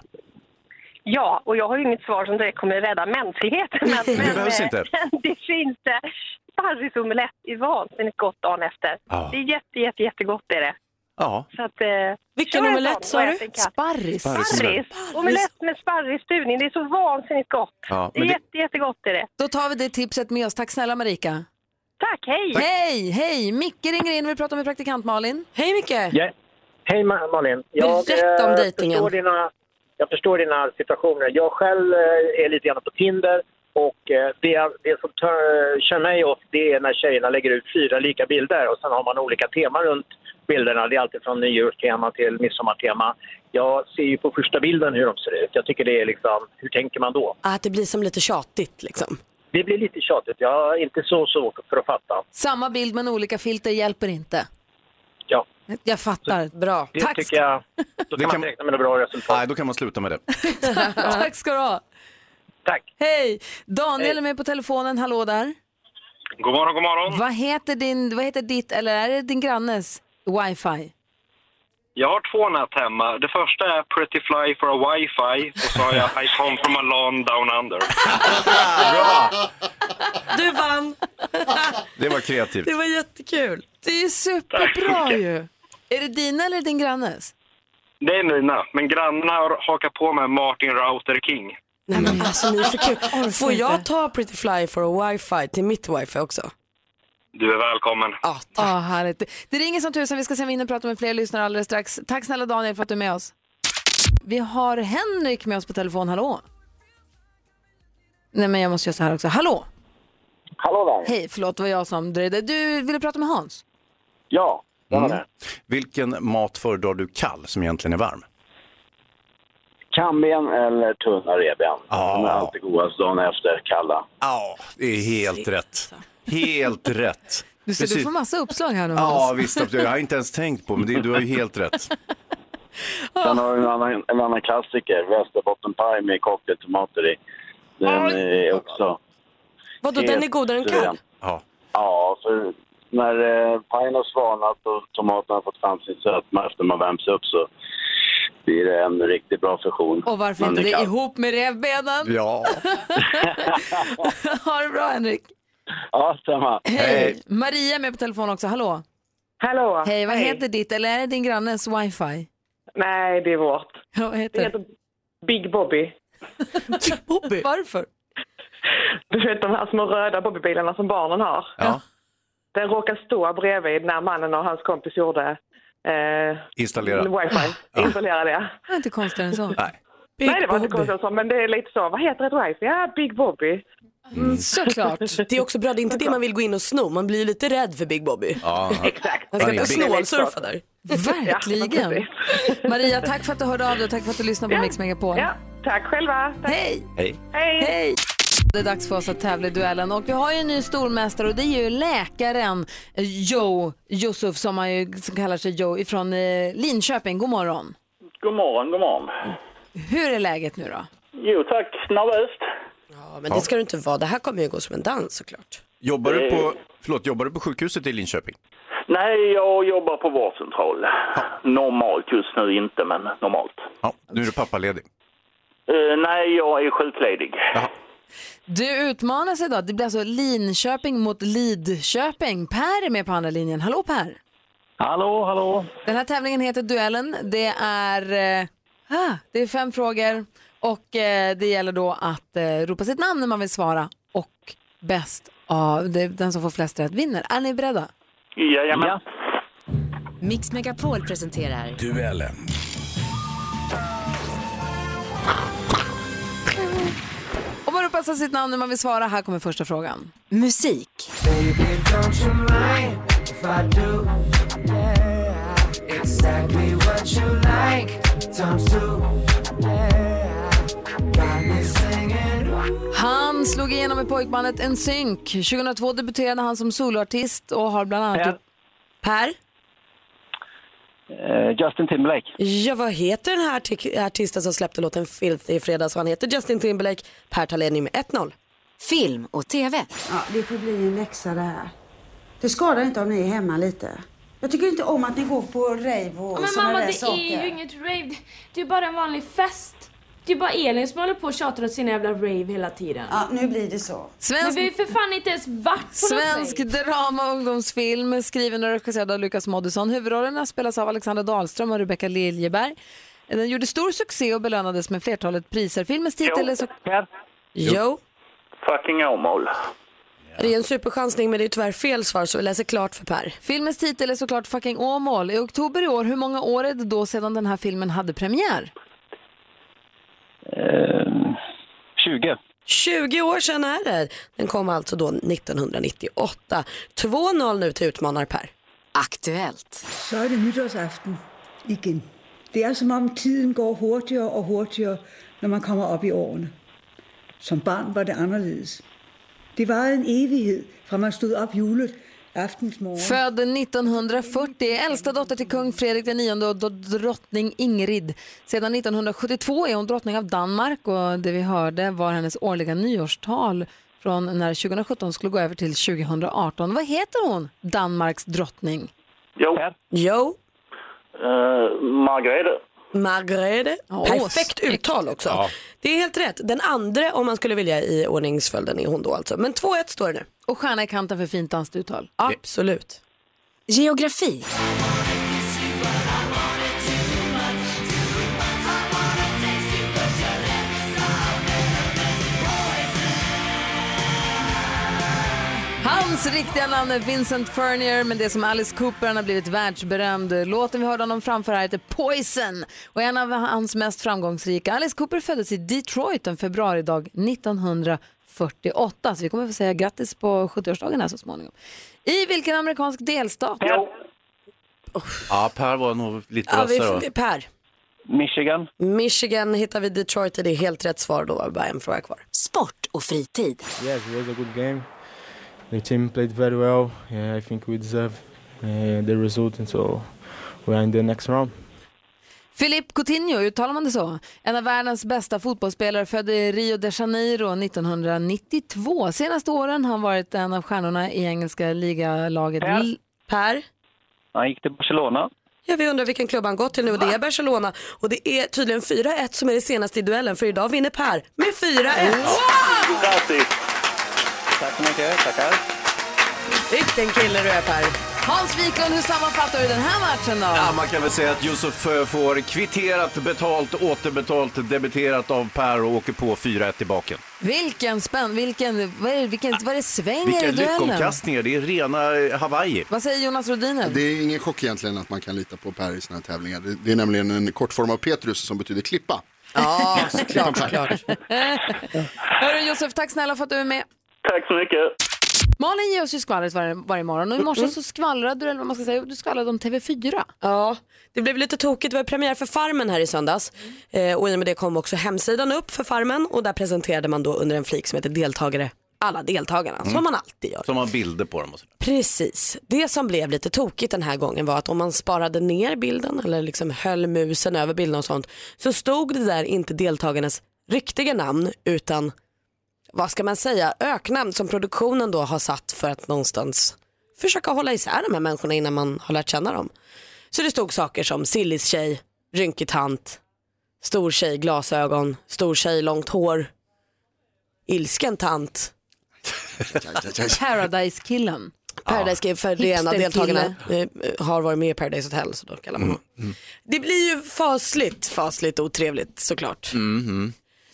S5: Ja, och jag har ju inget svar som direkt kommer rädda mänskligheten. Men, men,
S2: behövs
S5: eh,
S2: inte.
S5: det finns eh, sparrisomelett i vansinnigt gott dagen efter.
S2: Ja.
S5: Det är jätte, jätte, jättegott är det.
S2: Ja,
S5: Så att, eh,
S4: Vilken
S5: kör en
S4: omelett,
S5: sån och
S4: sa du?
S5: ät en katt.
S1: Sparris.
S5: Sparris. Omelett med sparrisstuvning. Det är så vansinnigt gott.
S2: Ja,
S5: det är
S2: men det-
S5: jätte, jättegott är det.
S1: Då tar vi det tipset med oss. Tack snälla Marika.
S5: Tack, hej!
S1: Hej, hej! Micke ringer in. Vi pratar med praktikant Malin.
S3: Hej Micke!
S11: Ja. Hej Ma- Malin.
S3: Berätta om
S11: eh,
S3: dejtingen.
S11: förstår dina- Jag förstår dina situationer. Jag själv eh, är lite grann på Tinder och eh, det, det som tör, kör mig off det är när tjejerna lägger ut fyra lika bilder och sen har man olika teman runt bilderna. Det är alltid från nyårstema till midsommartema. Jag ser ju på första bilden hur de ser ut. Jag tycker det är liksom, hur tänker man då?
S3: Att det blir som lite tjatigt liksom.
S11: Det blir lite tjatigt. Jag har inte så svårt för att fatta.
S1: Samma bild men olika filter hjälper inte.
S11: Ja,
S1: Jag fattar.
S3: Bra.
S11: det
S1: Tack.
S11: tycker jag.
S2: Det
S11: Då
S2: kan-
S11: kan man inte räkna med några bra resultat.
S2: nej, då kan man sluta med det.
S1: Tack ska du ha.
S11: Tack!
S1: Hej! Daniel är med på telefonen. Hallå där.
S9: God morgon, god morgon.
S1: Vad heter, din, vad heter ditt, eller är det din grannes, wifi?
S9: Jag har två nät hemma. Det första är Pretty Fly for a Wi-Fi och så har jag I come from a lawn down under.
S3: Du vann!
S2: Det var kreativt.
S3: Det var jättekul.
S1: Det är ju superbra ju! Är det dina eller din grannes?
S9: Det är mina, men grannarna har hakat på med Martin Router King.
S3: Nej men alltså ni är för kul. Får
S1: Mm. inte.
S3: jag ta Pretty Fly for a wifi till mitt wifi också?
S9: Du är välkommen.
S3: Ja, tack.
S1: Ja, Ah, härligt. Det ringer som tusan. Vi ska se om vi hinner prata med fler lyssnare alldeles strax. Tack snälla Daniel för att du är med oss. Vi har Henrik med oss på telefon. Hallå? Nej, men jag måste göra så här också. Hallå?
S11: Hallå där!
S1: Hej, förlåt, det var jag som dröjde. Du ville prata med Hans?
S11: Ja, det
S9: Mm.
S11: var det.
S2: Vilken mat föredrar du kall som egentligen är varm?
S11: Kamben eller tunna revben.
S2: Ja.
S11: De är alltid godast dagen efter, kalla.
S2: Ja, det är helt
S3: alltså.
S2: rätt. Helt rätt.
S1: Du, ser, du
S2: Precis.
S1: får massa uppslag här nu, Hans.
S2: Ja, visst. absolut. Jag har inte ens tänkt på, men det, du har ju helt rätt.
S9: Ah.
S11: Sen har vi en annan, en annan klassiker, västerbottenpaj med cocktailtomater i.
S9: Ah.
S11: Den är också...
S3: Vadå den är godare än kall?
S11: suverän.
S2: Ja.
S11: Ja, för när eh, pajen har svalnat och tomaterna har fått fram sin sötma efter man värms upp så blir det en riktigt bra fusion.
S1: Och varför
S11: Men
S1: inte det
S11: kan-
S1: ihop med revbenen?
S2: ja.
S1: ha det bra, Henrik.
S11: Ja, samma.
S2: Hej.
S1: Maria är med på telefon också. Hallå?
S5: Hallå!
S1: Hej, vad heter ditt, eller är det din grannes wifi?
S5: Nej, det är vårt.
S1: Ja, vad heter det?
S5: Big Bobby.
S3: Bobby.
S1: Varför?
S5: Du vet de här små röda Bobbybilarna som barnen har.
S2: ja.
S5: Den råkar stå bredvid när mannen och hans kompis gjorde eh,
S6: Mm,
S2: Installera.
S5: wifi. Installera det.
S1: Det var inte konstigare än så.
S2: Nej.
S3: Big
S5: Nej, det var inte
S3: Bobby.
S5: konstigt så, men det är lite så. Vad heter ett wifi? Ja, Big Bobby.
S1: Mm, Såklart.
S3: Det är också bra, det är inte det man vill gå in och sno. Man blir ju lite rädd för Big Bobby.
S2: Ja.
S5: Exakt.
S3: Man ska
S2: Ja,
S3: inte
S2: det är-
S3: snålsurfa där.
S1: Verkligen.
S5: Ja,
S1: Maria, tack för att du hörde av dig och tack för att du lyssnade på Mix Megapol.
S5: Ja, tack själva. Tack.
S1: Hej!
S2: Hej.
S5: Hej!
S1: Hej! Det är dags för oss att tävla i duellen och vi har ju en ny stormästare och det är ju läkaren eh, Joe Yusuf som han ju som kallar sig Joe ifrån eh, Linköping. God morgon.
S12: God morgon, god morgon.
S1: Hur är läget nu då?
S12: Jo tack, nervöst.
S3: Ja, men det ska du inte vara. Det här kommer ju gå som en dans såklart.
S2: Jobbar du,
S12: Eh.
S2: på, förlåt, jobbar du på sjukhuset i Linköping?
S12: Nej, jag jobbar på vårdcentral. Normalt just nu inte, men normalt.
S2: Ja, nu är du pappaledig.
S12: Eh, nej, jag är sjukledig.
S1: Du utmanas idag. Det blir alltså Linköping mot Lidköping. Per är med på andra linjen. Hallå Per!
S13: Hallå, hallå.
S1: Den här tävlingen heter Duellen. Det är, eh, ah, det är fem frågor och eh, det gäller då att eh, ropa sitt namn när man vill svara och bäst av det, den som får flest rätt vinner. Är ni beredda?
S12: Jajamän. Ja.
S14: Mix Megapol presenterar
S10: Duellen.
S1: Om man ropar sitt namn när man vill svara, här kommer första frågan.
S14: musik.
S15: Baby, don't you mind if I do? Yeah, exactly what you like. Don't do. Yeah, got me singing. ooh.
S1: Han slog igenom i pojkbandet NSYNC. 2002 debuterade han som soloartist och har bland annat... Per? per?
S13: Eh, Justin Timberlake.
S3: Ja, vad heter den här artik- artisten som släppte låten Filthy i fredags? Han heter Justin Timberlake. Per tar ledning med 1-0.
S14: Film och TV.
S16: Ja, det får bli en läxa det här. Det skadar inte om ni är hemma lite. Jag tycker inte om att ni går på rave och
S17: Ja, men
S16: såna
S17: mamma,
S16: där
S17: det
S16: saker.
S17: är ju inget rave. Det- Det är bara en vanlig fest. Det är bara Elin som håller på och tjatar åt sina jävla rave hela tiden.
S16: Ja, nu blir det så.
S1: Svensk-
S17: Men vi har ju för fan inte ens varit på
S1: Svensk
S17: något rave.
S1: drama och ungdomsfilm skriven och regisserad av Lukas Moodysson. Huvudrollerna spelas av Alexander Dahlström och Rebecca Liljeberg. Den gjorde stor succé och belönades med flertalet priser. Filmens titel är så...
S12: Per?
S3: Jo.
S12: Fucking Åmål.
S3: Det är en superchansning men det är tyvärr fel svar så vi läser klart för Per.
S1: Filmens titel är såklart Fucking Åmål. I oktober i år, hur många år är det då sedan den här filmen hade premiär?
S13: 20.
S3: 20 år sedan är det. Den kom alltså då 1998. 2-0 nu till utmanare Per.
S14: Aktuellt.
S18: Så er det nytårsaften igen. Det er som om tiden går hurtigere og hurtigere, når man kommer op i årene. Som barn var det anderledes. Det varede en evighed, fra man stod op julet aftensmorgen.
S1: Född 1940, äldsta dotter till kung Fredrik IX och dr- drottning Ingrid. Sedan 1972 är hon drottning av Danmark och det vi hörde var hennes årliga nyårstal från när 2017 skulle gå över till 2018. Vad heter hon, Danmarks drottning?
S12: Jo.
S3: Jo.
S12: Eh, Margareta.
S3: Margrethe.
S12: Ja,
S3: Perfekt uttal också. Det är helt rätt. Den andra om man skulle vilja i ordningsföljden är hon då alltså. Men 2-1 står det nu.
S1: Och stjärna i kanten för fint danskt uttal.
S3: Absolut.
S14: Geografi.
S1: Hans riktiga namn är Vincent Furnier, men det som Alice Cooper han har blivit världsberömd. Låten vi hörde honom framföra heter Poison och är en av hans mest framgångsrika. Alice Cooper föddes i Detroit en februaridag 1948, så vi kommer få säga grattis på 70-årsdagen här så småningom. I vilken amerikansk delstat?
S2: Ja, Per var nog lite
S3: Ja, vi,
S2: vassare. va?
S3: per.
S13: Michigan.
S3: Michigan hittar vi Detroit i. Det är helt rätt svar. Då var det bara en fråga kvar.
S14: Sport och fritid.
S19: Yes, it was a good game. The team played very well. Yeah, I think we deserve uh, the result, and so we are in the next round.
S1: Philippe Coutinho, uttalar man det så? En av världens bästa fotbollsspelare, född i Rio de Janeiro 1992. Senaste åren har han varit en av stjärnorna i engelska ligalaget.
S3: Per. per.
S13: Han gick till Barcelona.
S3: Ja, vi undrar vilken klubb han gått till nu och det är Barcelona. Och det är tydligen 4-1 som är det senaste i duellen för idag vinner Per med 4-1.
S13: Grattis! Tack så mycket. Tackar.
S3: Vilken kille du är Per.
S1: Hans Wiklund, hur sammanfattar du den här matchen då?
S2: Ja, man kan väl säga att Josef eh, får kvitterat, betalt, återbetalt, debiterat av Per och åker på 4-1 i baken.
S1: Vilken spänn, vilken, vad är det, vilken, vad är det svänger
S2: Vilka
S1: i duellen?
S2: lyckomkastningar, det är rena eh, Hawaii.
S1: Vad säger Jonas Rodiner?
S8: Det är ingen chock egentligen att man kan lita på Per i såna här tävlingar. Det- Det är nämligen en kortform av Petrus som betyder klippa.
S1: Ja,
S8: såklart,
S1: Hörru Josef, tack snälla för att du är med.
S12: Tack så mycket.
S1: Malin ger oss ju skvallret varje, varje morgon och i morse så skvallrade du, eller vad man ska säga, du skvallrade om TV4.
S3: Ja, det blev lite tokigt. Det var premiär för Farmen här i söndags eh, och i och med det kom också hemsidan upp för Farmen och där presenterade man då under en flik som heter deltagare alla deltagarna som man alltid gör.
S2: Som har bilder på dem och sådär.
S3: Precis. Det som blev lite tokigt den här gången var att om man sparade ner bilden eller liksom höll musen över bilden och sånt så stod det där inte deltagarnas riktiga namn utan vad ska man säga, öknamn som produktionen då har satt för att någonstans försöka hålla isär de här människorna innan man har lärt känna dem. Så det stod saker som sillis tjej, rynkig tant, stor tjej, glasögon, stor tjej, långt hår, ilsken tant,
S1: Paradise-killen.
S3: Paradise Game för det ena
S1: Hipsterkille.
S3: deltagarna eh, har varit med i Paradise Hotel så då kallar man honom. Det blir ju fasligt, fasligt otrevligt såklart.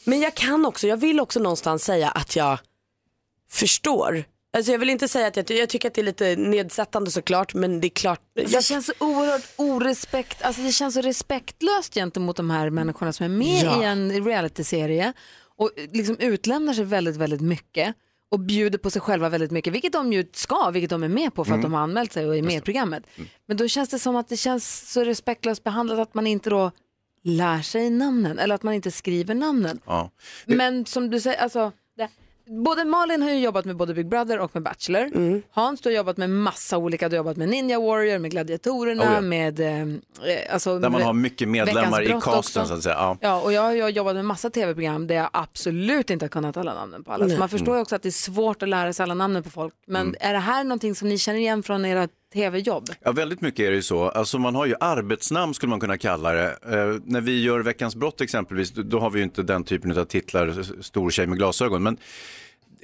S3: Men jag kan också, jag vill också någonstans säga att jag förstår. Alltså jag vill inte säga att jag, jag tycker att det är lite nedsättande såklart men det är klart.
S1: Det känns så oerhört orespekt, alltså det känns så respektlöst gentemot de här människorna som är med
S3: Ja.
S1: i en realityserie och liksom utlämnar sig väldigt, väldigt mycket och bjuder på sig själva väldigt mycket, vilket de ju ska, vilket de är med på för att
S3: Mm.
S1: de har anmält sig och är med i programmet. Men då känns det som att det känns så respektlöst behandlat att man inte då lär sig namnen eller att man inte skriver namnen.
S2: Ja.
S1: Men som du säger, alltså, det, både Malin har ju jobbat med både Big Brother och med Bachelor.
S2: Mm.
S1: Hans, du har jobbat med massa olika, du har jobbat med Ninja Warrior, med Gladiatorerna,
S2: Oh ja.
S1: med... Eh, alltså,
S2: Där man
S1: med-
S2: har mycket medlemmar i
S1: Veckans brott
S2: casten,
S1: också.
S2: så att säga. Ja.
S1: Ja, och jag har ju jobbat med massa tv-program där jag absolut inte har kunnat alla namnen på alla.
S2: Nej.
S1: Så man förstår ju
S2: Mm.
S1: också att det är svårt att lära sig alla namnen på folk. Men
S2: Mm. Liksom
S1: är det här någonting som ni känner igen från era tv-jobb?
S2: Ja, väldigt mycket är det ju så. Alltså man har ju arbetsnamn skulle man kunna kalla det. Eh, när vi gör Veckans brott exempelvis, då, då har vi ju inte den typen av titlar, s- stor tjej med glasögon. Men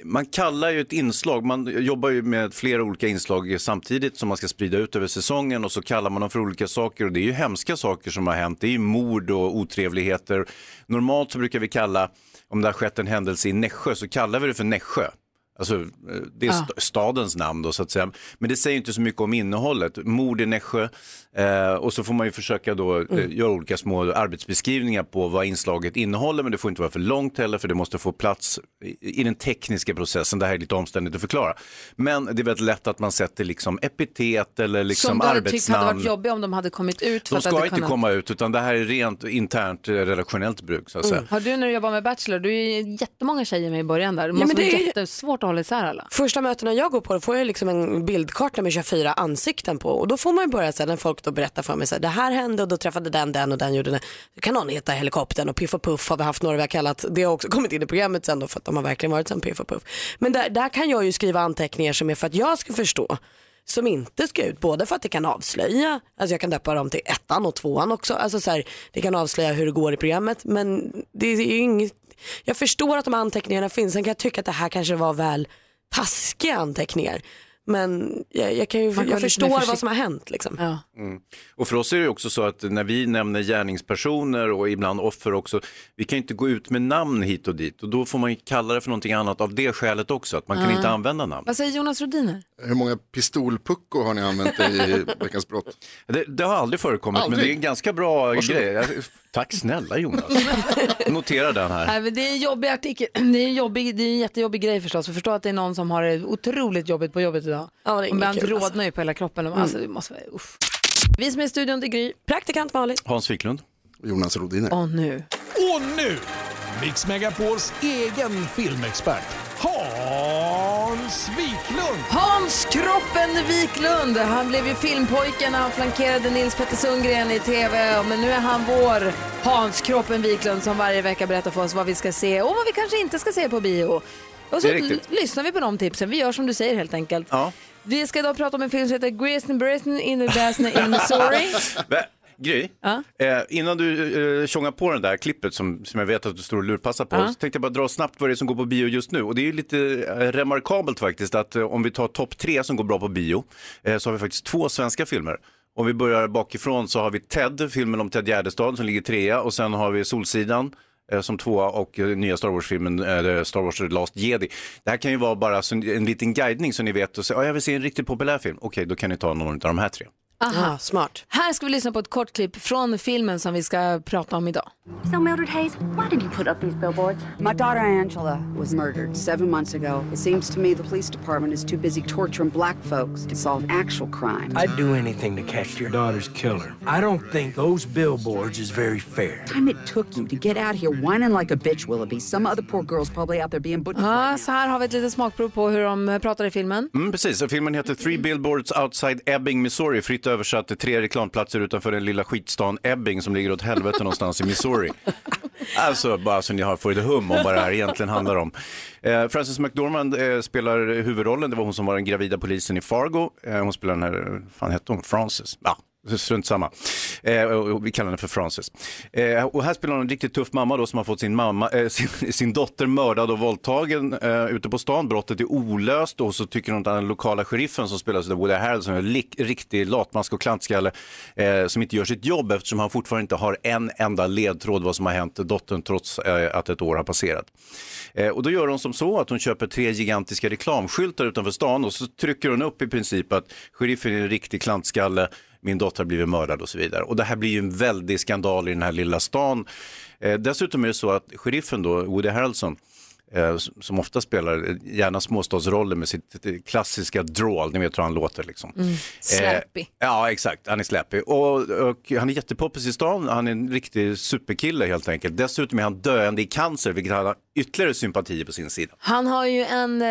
S2: man kallar ju ett inslag, man jobbar ju med flera olika inslag samtidigt som man ska sprida ut över säsongen och så kallar man dem för olika saker och det är ju hemska saker som har hänt. Det är ju mord och otrevligheter. Normalt så brukar vi kalla, om det har skett en händelse i Nässjö så kallar vi det för Nässjö. Alltså, eh, det är st- stadens namn då så att säga. Men det säger inte så mycket om innehållet. Mord i Nässjö eh, och så får man ju försöka då eh,
S1: Mm.
S2: göra olika små arbetsbeskrivningar på vad inslaget innehåller men det får inte vara för långt heller för det måste få plats i, i den tekniska processen. Det här är lite omständigt att förklara. Men det är väldigt lätt att man sätter liksom epitet eller liksom
S1: som du hade tyckt hade
S2: arbetsnamn.
S1: varit jobbiga om de hade kommit ut.
S2: De
S1: att det
S2: ska
S1: hade
S2: inte
S1: kunnat-
S2: komma ut utan det här är rent internt eh, redaktionellt bruk så att säga.
S1: Mm. Har du när du jobbar med Bachelor, du är ju jättemånga tjejer med i början där. Det
S3: Ja,
S1: måste
S3: men
S1: vara
S3: det är-
S1: jättesvårt att hålla isär alla.
S3: Första mötena jag går på då får jag liksom en bildkarta med 24 ansikten på och då får man ju börja sen när folk då berättar för mig så här, det här hände och då träffade den den och den gjorde den. Kan någon heta helikoptern och Piff och Puff har vi haft några vi har kallat. Det har också kommit in i programmet sen då för att de har verkligen varit som Piff och Puff. Men där, där kan jag ju skriva anteckningar som är för att jag ska förstå som inte ska ut, både för att det kan avslöja, alltså jag kan döpa dem till ettan och tvåan också, alltså så här, det kan avslöja hur det går i programmet men det är ju inget, jag förstår att de här anteckningarna finns, sen kan jag tycka att det här kanske var väl taskiga anteckningar. Men jag, jag, kan ju,
S1: kan vara
S3: jag
S1: lite
S3: förstår
S1: mer
S3: vad
S1: försikt-
S3: som har hänt. Liksom.
S2: Mm. Och för oss är det också så att när vi nämner gärningspersoner och ibland offer också, vi kan ju inte gå ut med namn hit och dit och då får man ju kalla det för någonting annat av det skälet också, att man kan
S1: Ah.
S2: inte använda namn.
S1: Vad säger Jonas Rhodiner?
S8: Hur många pistolpuckor har ni använt i Veckans brott?
S2: Det, har aldrig förekommit, men det är en ganska bra grej. Jag- Tack snälla Jonas. Notera den här.
S1: Nej, men det är en jobbig artikel. Det är en, jobbig, det är en jättejobbig grej förstås. För förstå att det är någon som har det otroligt jobbigt på jobbet idag.
S3: det är
S1: och
S3: inget
S1: ibland
S3: kul,
S1: rodnar
S3: alltså.
S1: ju på hela kroppen.
S3: Mm.
S1: Alltså, det måste vara, uff. Vi som är i studion, det är Gry.
S3: Praktikant Malin.
S2: Hans Wiklund.
S8: Jonas Rodiner.
S1: Och nu.
S20: Och nu, Mix Megapols egen filmexpert Hans Wiklund.
S1: Hans Kroppen Wiklund, han blev ju filmpojken när han flankerade Nils Petter Sundgren i tv. Men nu är han vår Hans Kroppen Wiklund som varje vecka berättar för oss vad vi ska se och vad vi kanske inte ska se på bio. Och så
S15: Det är riktigt.
S1: l- lyssnar vi på de tipsen, vi gör som du säger helt enkelt. Vi ska idag prata om en film som heter Greasen Britain in the Basin in Missouri.
S2: Va? Gry, eh, innan du eh, tjongar på den där klippet som, som jag vet att du står och lurpassar på,
S1: Ja.
S2: så tänkte jag bara dra snabbt vad det är som går på bio just nu. Och det är ju lite eh, remarkabelt faktiskt att eh, om vi tar topp tre som går bra på bio, eh, så har vi faktiskt två svenska filmer. Om vi börjar bakifrån så har vi Ted, filmen om Ted Gärdestad som ligger trea och sen har vi Solsidan eh, som tvåa och eh, nya Star Wars-filmen eh, Star Wars The Last Jedi. Det här kan ju vara bara så en, en liten guidning så ni vet och säger, ja jag vill se en riktigt populär film. Okej, då kan ni ta någon av de här tre.
S1: Aha.
S3: Ja, smart.
S1: Här ska vi lyssna på ett kort klipp från filmen som vi ska prata om idag.
S21: So, Mildred Hayes, why did you put up these billboards?
S22: My daughter Angela was murdered seven months ago. It seems to me the police department is too busy torturing black folks to solve actual crime.
S23: I'd do anything to catch your daughter's killer. I don't think those billboards is very fair.
S22: time it took you to get out here whining like a bitch, Willoughby. Some other poor girl's probably out there being butchered.
S1: Ja, så här har vi ett litet smakprov på hur de eh, pratar i filmen.
S2: Mm, precis, och filmen heter Three Billboards Outside Ebbing, Missouri. Fritt översatt, tre reklamplatser utanför den lilla skitstan Ebbing som ligger åt helvete någonstans i Missouri. Alltså, bara så ni har får ett hum om vad det här egentligen handlar om. Eh, Frances McDormand eh, spelar huvudrollen, det var hon som var den gravida polisen i Fargo. Eh, hon spelar den här, eh, fan hette hon, Frances? Ja. Strunt samma. Eh, och- och vi kallar henne för Frances. Eh, och här spelar hon en riktigt tuff mamma då som har fått sin, mamma, eh, sin, sin dotter mördad och våldtagen eh, ute på stan. Brottet är olöst och så tycker hon att den lokala sheriffen som spelas av Woody Harrelson är en lik- riktig latmask och klantskalle eh, som inte gör sitt jobb eftersom han fortfarande inte har en enda ledtråd vad som har hänt dottern trots eh, att ett år har passerat. Eh, och då gör hon som så att hon köper tre gigantiska reklamskyltar utanför stan och så trycker hon upp i princip att sheriffen är en riktig klantskalle min dotter har blivit mördad och så vidare. Och det här blir ju en väldig skandal i den här lilla stan. Eh, dessutom är det så att sheriffen då, Woody Harrelson, eh, s- som ofta spelar eh, gärna småstadsroller med sitt eh, klassiska drawl, ni vet hur han låter liksom.
S1: Släpig.
S2: Eh, ja, exakt. Han är släpig. Och, och han är jättepoppis i stan. Han är en riktig superkille helt enkelt. Dessutom är han döende i cancer, vilket han har ytterligare sympati på sin sida.
S1: Han har ju en eh,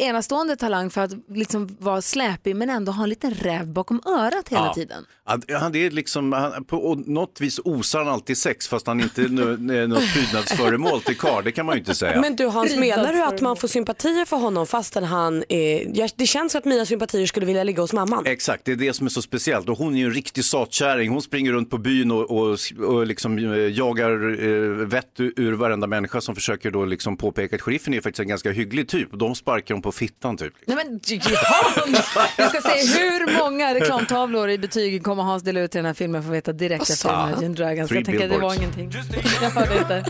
S1: enastående talang för att liksom vara släpig men ändå ha en liten räv bakom örat hela
S2: Ja.
S1: tiden.
S2: Han, han är liksom, han, på och något vis osar han alltid sex fast han inte är nu- är något prydnadsföremål till karl, det kan man ju inte säga.
S3: Men du Hans, menar du att man får sympatier för honom fastän han är... Ja, Det känns att mina sympatier skulle vilja ligga hos mamman.
S2: Exakt, det är det som är så speciellt. Och hon är ju en riktig satkärring. Hon springer runt på byn och, och, och liksom eh, jagar eh, vett ur, ur varenda människa som försöker då liksom påpeka att sheriffen är ju faktiskt en ganska hygglig typ. De sparkar hon på fittan typ.
S1: Nej men Hans! Vi ska se hur många reklamtavlor i betyg kommer Hans dela ut till den här filmen för att veta direkt efter
S2: Asså.
S1: Imagine Dragons.
S2: Three
S1: Jag tänker att det var
S2: billboards.
S1: ingenting. Jag hörde inte.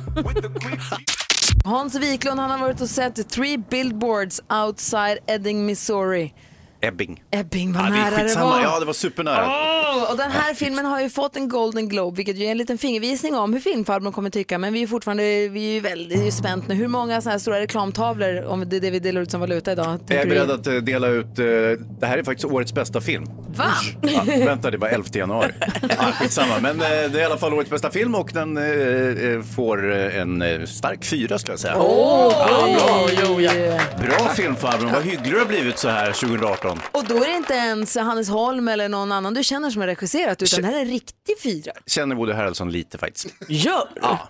S1: Hans Wiklund han har varit och sett Three Billboards Outside Edding, Missouri.
S2: Ebbing.
S1: Ebbing, vad
S2: Ja, det är
S1: nära det
S2: skitsamma.
S1: var.
S2: Ja, det var supernära.
S1: Åh, och den här filmen har ju fått en Golden Globe, vilket ju är en liten fingervisning om hur filmfarbrorn kommer tycka. Men vi är fortfarande vi är ju väldigt spänt nu. Hur många sådana här stora reklamtavlor, om det är det vi delar ut som valuta idag,
S2: Jag
S1: tänker
S2: är
S1: du?
S2: beredd att eh, dela ut, eh, det här är faktiskt årets bästa film.
S1: Va?
S2: Ja, vänta, det var 11 januari. Ja, skitsamma, men eh, det är i alla fall årets bästa film och den eh, eh, får eh, en eh, stark fyra skulle jag säga. Ja, bra. Bra filmfarbrorn, vad hygglig du har blivit så här 2018.
S1: Och då är det inte ens Hannes Holm eller någon annan du känner som har regisserat, utan det här är en riktig fyra.
S2: Känner Woody Harrelson lite faktiskt. Gör ja.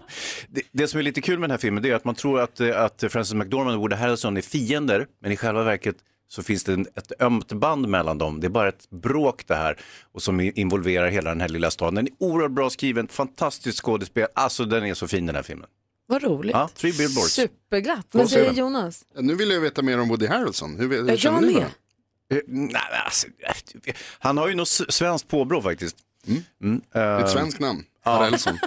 S2: det, det som är lite kul med den här filmen det är att man tror att, eh, att Frances McDormand och Woody Harrelson är fiender, men i själva verket så finns det en, ett ömt band mellan dem. Det är bara ett bråk det här och som i- involverar hela den här lilla staden. Den är oerhört bra skriven, fantastiskt skådespel. Alltså den är så fin den här filmen.
S1: Vad roligt.
S2: Ja, Three Billboards.
S1: Superglatt.
S2: Vad
S1: Vad
S2: säger
S1: säger Jonas?
S8: Ja, Nu vill jag veta mer om Woody Harrelson. Hur, hur
S1: Jag
S8: känner ni
S1: med.
S8: då?
S2: Eh, Nej, men alltså, eh, han har ju något s- svenskt påbrå faktiskt. Mm. eh,
S8: Ett svenskt namn,
S2: ja.
S8: Harrelson.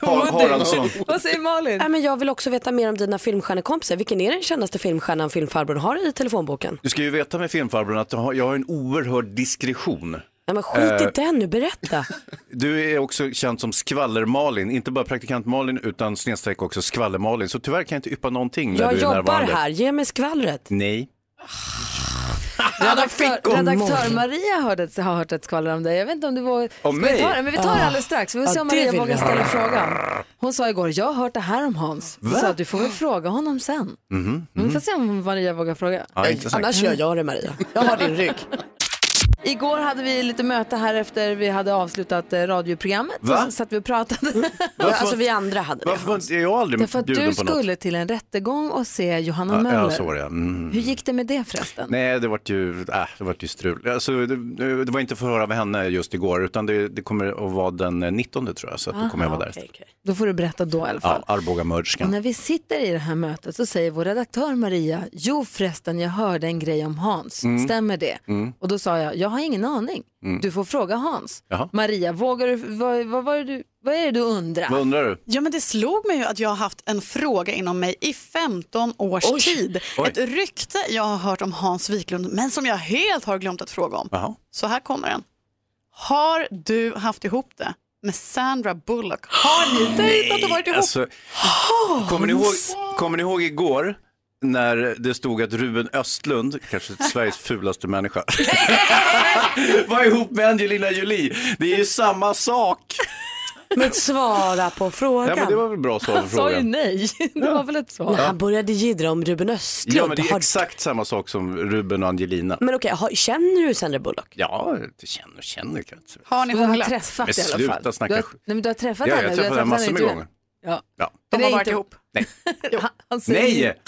S2: Har- Haraldsson.
S1: Vad säger Malin?
S3: Nej, men jag vill också veta mer om dina filmstjärnekompisar. Vilken är den kändaste filmstjärnan filmfarbrorn har i telefonboken?
S2: Du ska ju veta med filmfarbrorn att jag har- jag har en oerhörd diskretion.
S3: Nej, men skit
S2: Eh,
S3: i den nu, berätta.
S2: Du är också känd som Skvaller-Malin, inte bara praktikant-Malin utan snedstreck också Skvaller-Malin. Så tyvärr kan jag inte yppa någonting när
S3: Jag
S2: du är
S3: jobbar
S2: närvarande. Mm,
S3: här, ge mig skvallret.
S2: Nej.
S1: Redaktör,
S3: hon.
S1: redaktör Maria hörde, ett- har hört ett skvaller om dig. Jag vet inte om det var... Ska vi
S2: mig? Ah.
S1: ta det? Men vi tar det alldeles strax. Vi får
S3: Ja,
S1: se om
S3: det
S1: Maria
S3: vill
S1: vågar
S3: vi.
S1: ställa frågan. Hon sa igår, jag har hört det här om Hans.
S3: Va?
S1: Så att du får väl fråga honom sen. Mm,
S2: Mhm.
S1: Vi får se om Maria vågar fråga.
S2: Ja, intressant.
S3: Annars
S4: Mm.
S3: gör jag det Maria. Jag har din rygg.
S1: Igår hade vi lite möte här efter vi hade avslutat eh, radioprogrammet.
S2: Va?
S1: Så satt vi och pratade.
S3: Alltså vi andra hade det.
S2: Mm. Varför var- är jag aldrig
S1: Därför att
S2: bjuden
S1: du
S2: på något?
S1: skulle till en rättegång och se Johanna
S2: Ja,
S1: Möller.
S2: ja, så var det. Mm.
S1: Hur gick det med det förresten?
S2: Nej, det vart ju, äh, det vart ju strul. Alltså, det, det var inte förhör av henne just igår, utan det, det kommer att vara den 19 tror jag, så att då kommer jag vara där.
S1: Då får du berätta då i alla fall.
S2: Ja, Arboga-mörderskan.
S1: Och när vi sitter i det här mötet så säger vår redaktör Maria, jo förresten jag hörde en grej om Hans,
S2: Mm.
S1: stämmer det?
S2: Mm.
S1: Och då sa jag, jag jag har ingen aning.
S2: Mm.
S1: Du får fråga Hans.
S2: Jaha.
S1: Maria, vågar du, vad, vad, vad, är du, vad är det du undrar?
S2: Vad undrar du?
S4: Ja, men det slog mig ju att jag har haft en fråga inom mig i 15 års
S1: Oj.
S4: tid.
S1: Oj.
S4: Ett rykte jag har hört om Hans Wiklund, men som jag helt har glömt att fråga om.
S2: Jaha.
S4: Så här kommer den. Har du haft ihop det med Sandra Bullock? Har ni dejtat och varit ihop?
S2: Alltså,
S4: Hans!
S2: kommer, ni ihåg, kommer ni ihåg igår när det stod att Ruben Östlund, kanske Sveriges fulaste människa, var ihop med Angelina Jolie? Det är ju samma sak.
S3: Men svara på frågan.
S2: Ja, men det var väl bra svar på
S3: Han sa ju
S2: frågan.
S1: nej. Det var väl ett svar.
S3: Nej, han började jiddra om Ruben Östlund.
S2: Ja, men det är
S3: Har-
S2: exakt samma sak som Ruben och Angelina.
S3: men okej, har- känner du Sandra Bullock?
S2: Ja, det känner, känner kanske.
S1: Har
S3: ni
S1: du har
S3: hånglat?
S1: träffat
S2: Men
S1: i alla fall.
S2: sluta snacka
S1: du har,
S2: skit.
S1: nej, men du har
S2: Ja,
S1: träffat
S2: jag
S1: henne.
S2: har
S1: du
S2: träffat henne
S1: i
S2: massor med
S1: intervju.
S2: gånger.
S1: Ja.
S2: Ja.
S1: Men
S4: De
S1: det
S4: har
S1: är
S4: varit
S1: inte-
S4: ihop.
S1: Han, han säger
S2: Nej!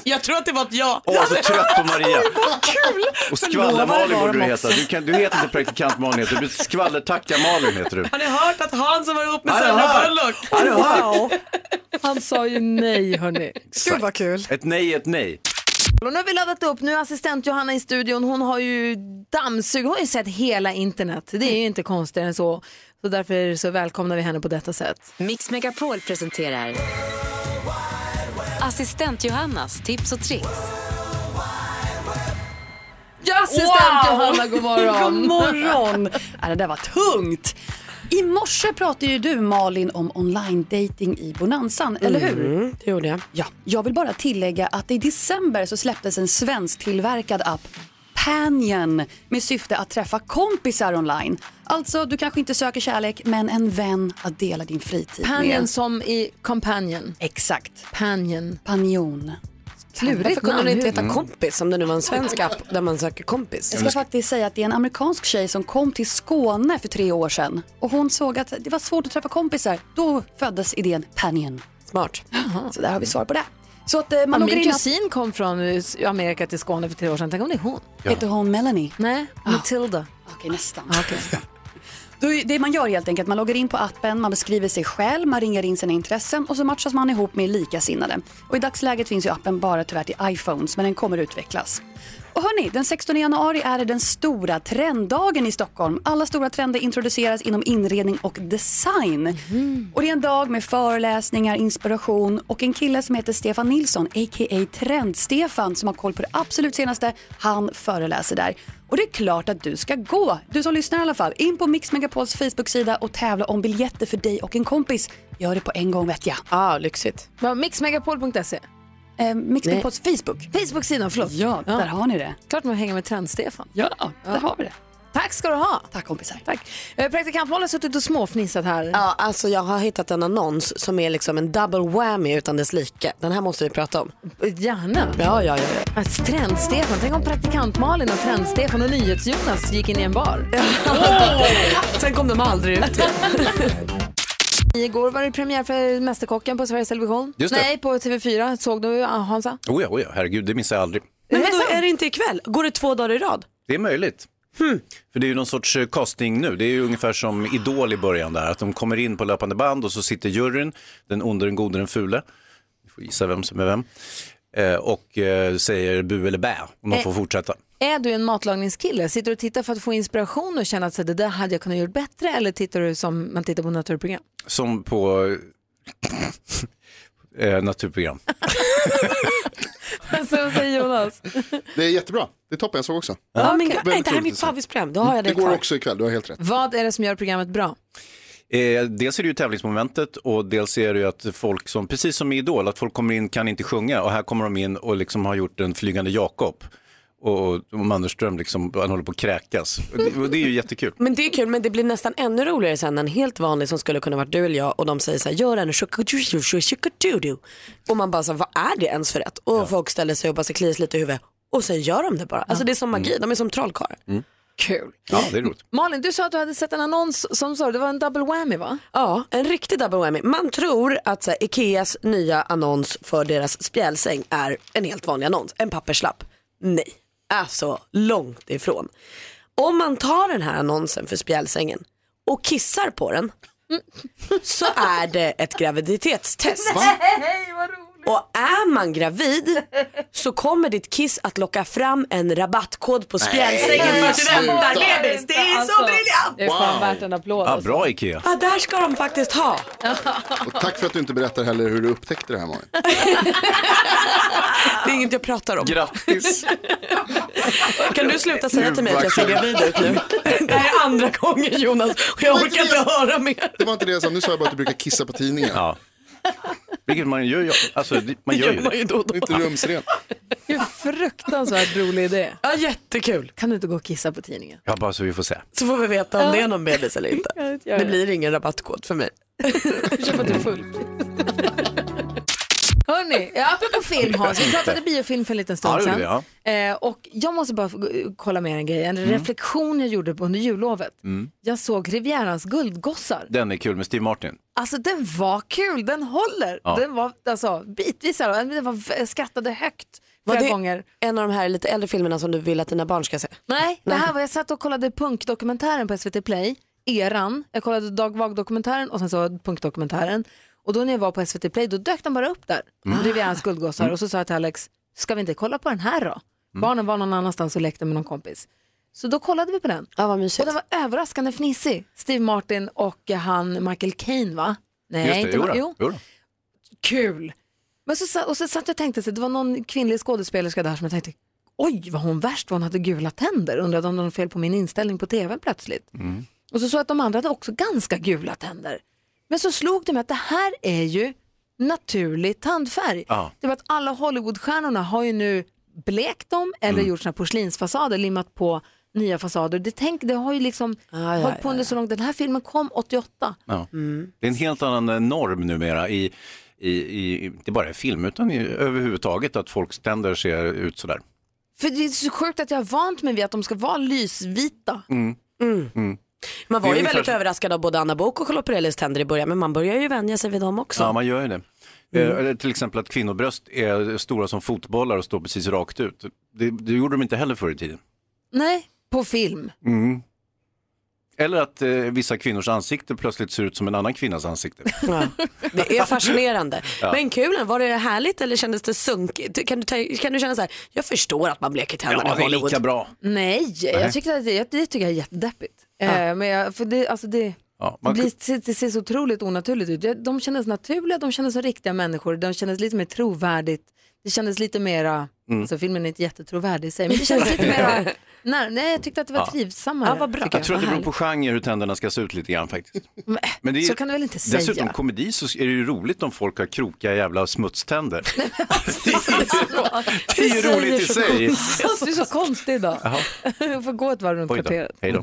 S4: Jag tror att det var ett ja.
S2: Åh, så trött på Maria.
S4: Vad kul!
S2: Och
S4: Men lovar
S2: skvaller-Malin
S4: var
S2: borde du
S4: de
S2: heta.
S4: också.
S2: Du, kan, du heter inte praktikant-Malin, heter du skvallertacka-Malin heter du.
S4: Har ni hört att Hans har varit ihop med
S2: Ja, det
S4: Sandra
S2: har jag.
S4: Bullock?
S2: Ja, det har jag.
S1: Wow. Han sa ju nej, hörni.
S2: Exakt. Ett nej är ett nej.
S1: Och nu har vi laddat upp, nu är assistent Johanna i studion, hon har ju dammsugit, hon har ju sett hela internet. Det är ju inte konstigare än så. Så därför så välkomnar vi henne på detta sätt.
S14: Mix Megapol presenterar Assistent Johannas tips och tricks.
S1: Ja, assistent Johanna, god morgon.
S6: god morgon. Ja, det där var tungt. I morse pratade ju du Malin om online dating i Bonanzan, eller hur?
S3: Mm, det gjorde jag.
S6: Ja, jag vill bara tillägga att i december så släpptes en svensktillverkad app Panion med syfte att träffa kompisar online. Alltså, du kanske inte söker kärlek, men en vän att dela din fritid
S1: Panion
S6: med.
S1: som i companion.
S6: Exakt.
S1: Panion.
S6: Panion.
S3: Klurigt Varför kunde hon inte heta kompis om det nu var en svensk app där man söker kompis?
S6: Jag ska faktiskt säga att det är en amerikansk tjej som kom till Skåne för tre år sedan och hon såg att det var svårt att träffa kompisar. Då föddes idén Panion.
S3: Smart.
S6: Så där har vi svar på det. Så att eh, man
S1: ja,
S6: loggar
S1: min
S6: in i
S1: kusin kom från eh, Amerika till Skåne för tre år sedan, tänk om det är hon?
S6: Ja. Heter hon Melanie?
S1: Nej,
S14: Ah.
S1: Matilda.
S6: Okej, nästan. Då är- Det man gör helt enkelt, man loggar in på appen, man beskriver sig själv, man ringar in sina intressen och så matchas man ihop med likasinnade. Och i dagsläget finns ju appen bara tyvärr till iPhones, men den kommer utvecklas. Och hörni, den 16 januari är det den stora trenddagen i Stockholm. Alla stora trender introduceras inom inredning och design. Och det är en dag med föreläsningar, inspiration och en kille som heter Stefan Nilsson, a.k.a. Trend-Stefan, som har koll på det absolut senaste. Han föreläser där. Och det är klart att du ska gå, du som lyssnar i alla fall, in på Mix Megapols Facebook-sida och tävla om biljetter för dig och en kompis. Gör det på en gång vet jag.
S3: Ah, lyxigt.
S1: Mixmegapol.se?
S6: Eh, Mix Megapols Facebook.
S1: Facebook-sidan, förlåt.
S6: Ja, där har ni det.
S1: Klart man hänger med Trend-Stefan.
S6: Ja, där har vi det.
S1: Tack ska du ha.
S6: Tack kompisar.
S1: Tack. Eh, Praktikant Malin har suttit och småfnissat här.
S3: Ja, alltså jag har hittat en annons som är liksom en double whammy utan dess like. Den här måste vi prata om.
S1: Eh, Gärna.
S3: Ja, ja, ja.
S1: Alltså, Trend-Stefan, tänk om praktikant-Malin och Trend-Stefan och Nyhets-Jonas gick in i en bar.
S3: Sen kom de aldrig ut.
S1: Igår var det premiär för Mästerkocken på Sveriges Television.
S2: Just det.
S1: Nej, på TV4. Såg du ah, Hansa?
S2: Oh ja, oh ja, herregud, det missar jag aldrig.
S3: Men vadå, är det inte ikväll? Går det två dagar i rad?
S2: Det är möjligt. För det är ju någon sorts eh, casting nu. Det är ju ungefär som Idol i början där, att de kommer in på löpande band och så sitter juryn, den onde, den gode, den fule. Vi får gissa vem som är vem. Eh, och eh, säger bu eller bä om de
S1: Eh.
S2: får fortsätta.
S1: Är du en matlagningskille? Sitter du och tittar för att få inspiration och känna att så, det där hade jag kunnat gjort bättre? Eller tittar du som man tittar på naturprogram?
S2: Som på eh, naturprogram.
S1: Alltså, vad säger Jonas?
S8: Det är jättebra. Det är toppen, jag såg också.
S3: Ja, men
S8: Väldigt
S3: nej, det här är
S8: roligt
S3: mitt
S8: att se.
S3: favoritprogram. Då har jag det,
S8: Det går
S3: kvar.
S8: också ikväll, du har helt rätt.
S1: Vad är det som gör programmet bra?
S2: Eh, dels är det ju tävlingsmomentet och dels är det ju att folk som, precis som i Idol, att folk kommer in kan inte sjunga och här kommer de in och liksom har gjort en flygande Jakob. Och, och Mannerström liksom, han håller på att kräkas. Och det, och det är ju jättekul.
S3: Men det är kul, men det blir nästan ännu roligare sen när en helt vanlig som skulle kunna varit du eller jag och de säger så här, gör en shukadudu. Och man bara så här, vad är det ens för rätt? Och folk ställer sig och bara så klias lite i huvudet och sen gör de det bara. Alltså det är som magi, de är som trollkarlar.
S1: Kul.
S2: Ja, det är roligt.
S1: Malin, du sa att du hade sett en annons som sa det var en double whammy va?
S3: Ja, en riktig double whammy. Man tror att så här, Ikeas nya annons för deras spjälsäng är en helt vanlig annons, en papperslapp. Nej, alltså långt ifrån. Om man tar den här annonsen för spjälsängen och kissar på den så är det ett graviditetstest.
S15: Nej, vad roligt!
S3: Och är man gravid så kommer ditt kiss att locka fram en rabattkod på spjälsängen för att du
S1: sluta.
S3: väntar bebis. Det är så
S1: Alltså,
S3: briljant!
S1: Det är fan värt en applåd. alltså.
S2: Ah, bra Ikea.
S3: Ja, där ska de faktiskt ha.
S8: Och tack för att du inte berättar heller hur du upptäckte det här Malin.
S3: Det är inget jag pratar om.
S2: Grattis.
S3: Kan du sluta säga till mig att jag ser
S8: Gud, vad
S3: gravid ut nu? Det här är andra gången Jonas och jag orkar inte höra mer.
S8: Det var inte det jag sa, nu sa jag bara att du brukar kissa på tidningar.
S2: Ja. Vilket man gör ju, alltså det- man gör ju det.
S8: Inte rumsren.
S1: Vilken fruktansvärt rolig idé.
S3: Ja, jättekul.
S1: Kan du inte gå och kissa på tidningen?
S2: Ja, bara så vi får se.
S3: Så får vi veta om det är någon bebis eller inte.
S1: gör
S3: Det
S1: det.
S3: blir ingen rabattkod för mig.
S1: Hörni, apropå film Hans, vi
S3: Inte.
S1: pratade biofilm för en liten
S3: Ja,
S1: stund
S3: det
S1: sedan.
S3: gjorde
S1: Eh, och jag måste bara få, eh, kolla med er en grej, en
S2: Mm.
S1: reflektion jag gjorde under jullovet.
S2: Mm.
S1: Jag såg Rivierans guldgossar.
S2: Den är kul med Steve Martin.
S1: Alltså den var kul, den håller.
S2: Ja.
S1: Den var alltså bitvis, här, den var, jag skrattade högt
S3: Var
S1: flera
S3: det
S1: gånger.
S3: en av de här lite äldre filmerna som du vill att dina barn ska se?
S1: Nej, det här
S3: Nej.
S1: var, jag satt och kollade punkdokumentären på SVT Play, eran. Jag kollade Dag Vag-dokumentären och sen så punkdokumentären. Och då när jag var på SVT Play då dök den bara upp där,
S3: Mm.
S1: Rivierans guldgossar.
S3: Mm.
S1: Och så sa jag till Alex, ska vi inte kolla på den här då? Barnen var någon annanstans och lekte med någon kompis. Så då kollade vi på den.
S3: Ja, vad
S1: och den var överraskande fnissig. Steve Martin och eh, han Michael Caine va? Nej,
S2: Just det,
S1: inte
S2: jodå,
S1: Ma- jo.
S2: jodå.
S1: Kul! Men så, sa- och så satt jag och tänkte, så, det var någon kvinnlig skådespelerska där som jag tänkte, oj vad hon värst var, hon hade gula tänder. Undrade om det var något fel på min inställning på tv plötsligt. Och så såg jag att de andra hade också ganska gula tänder. Men så slog det mig att det här är ju naturlig tandfärg.
S15: Ja.
S1: Det var att alla Hollywoodstjärnorna har ju nu blekt dem eller gjort såna porslinsfasader, limmat på nya fasader. Det, tänk, det har ju liksom
S3: Ah, ja,
S1: hållit på under så långt. Den här filmen kom 88.
S2: Ja. Det är en helt annan eh, norm numera i, i, i inte bara i film utan i, överhuvudtaget att folks tänder ser ut sådär.
S1: För det är så sjukt att jag har vant mig vid att de ska vara lysvita.
S2: Mm. Mm.
S3: Man
S2: Det är
S3: var ju
S2: ungefär
S3: väldigt
S2: som-
S3: överraskad av både Anna Bok och Charlotte Perrellis tänder i början men man börjar ju vänja sig vid dem också.
S2: Ja, man gör ju det.
S1: Mm.
S2: Eh, eller till exempel att kvinnobröst är stora som fotbollar och står precis rakt ut. Det, det gjorde de inte heller förr i tiden.
S1: Nej, på film.
S2: Mm. Eller att eh, vissa kvinnors ansikte plötsligt ser ut som en annan kvinnas ansikte.
S3: Det är fascinerande.
S2: Ja.
S3: Men kul, var det härligt eller kändes det sunkigt? Kan du, ta- kan du känna så här, jag förstår att man bleker tänderna
S2: Ja,
S3: i
S2: det är
S3: Hollywood.
S2: lika bra.
S1: Nej,
S2: Nej. Ah.
S1: Jag tyckte att det, det tycker jag är jättedeppigt. Eh, men jag, för det, alltså det,
S2: Ja,
S1: det,
S2: man-
S1: blir, det, det ser så otroligt onaturligt ut. Jag- De kändes naturliga, de kändes som riktiga människor, de kändes lite mer trovärdigt. Det kändes lite mera,
S3: Mm.
S1: alltså filmen är inte jättetrovärdig i sig, men det kändes lite mera, nej, nej jag tyckte att det var
S2: Ja.
S1: trivsammare. tycker
S2: Jag tror att det beror
S1: Vad
S2: på genre hur tänderna ska se ut lite grann faktiskt.
S1: Men, eh,
S2: det är ju-
S1: så kan du väl inte säga?
S2: Dessutom komedi så är det ju roligt om folk har krokiga jävla smutständer.
S1: härligt.
S2: det är ju
S1: Du
S2: roligt i
S1: säger
S2: sig.
S1: så konstigt. Du är så konstig idag.
S2: Jaha,
S1: Jag får gå ett varv runt
S2: oj då.
S1: kvarteret.
S2: Hej då.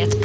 S14: Ett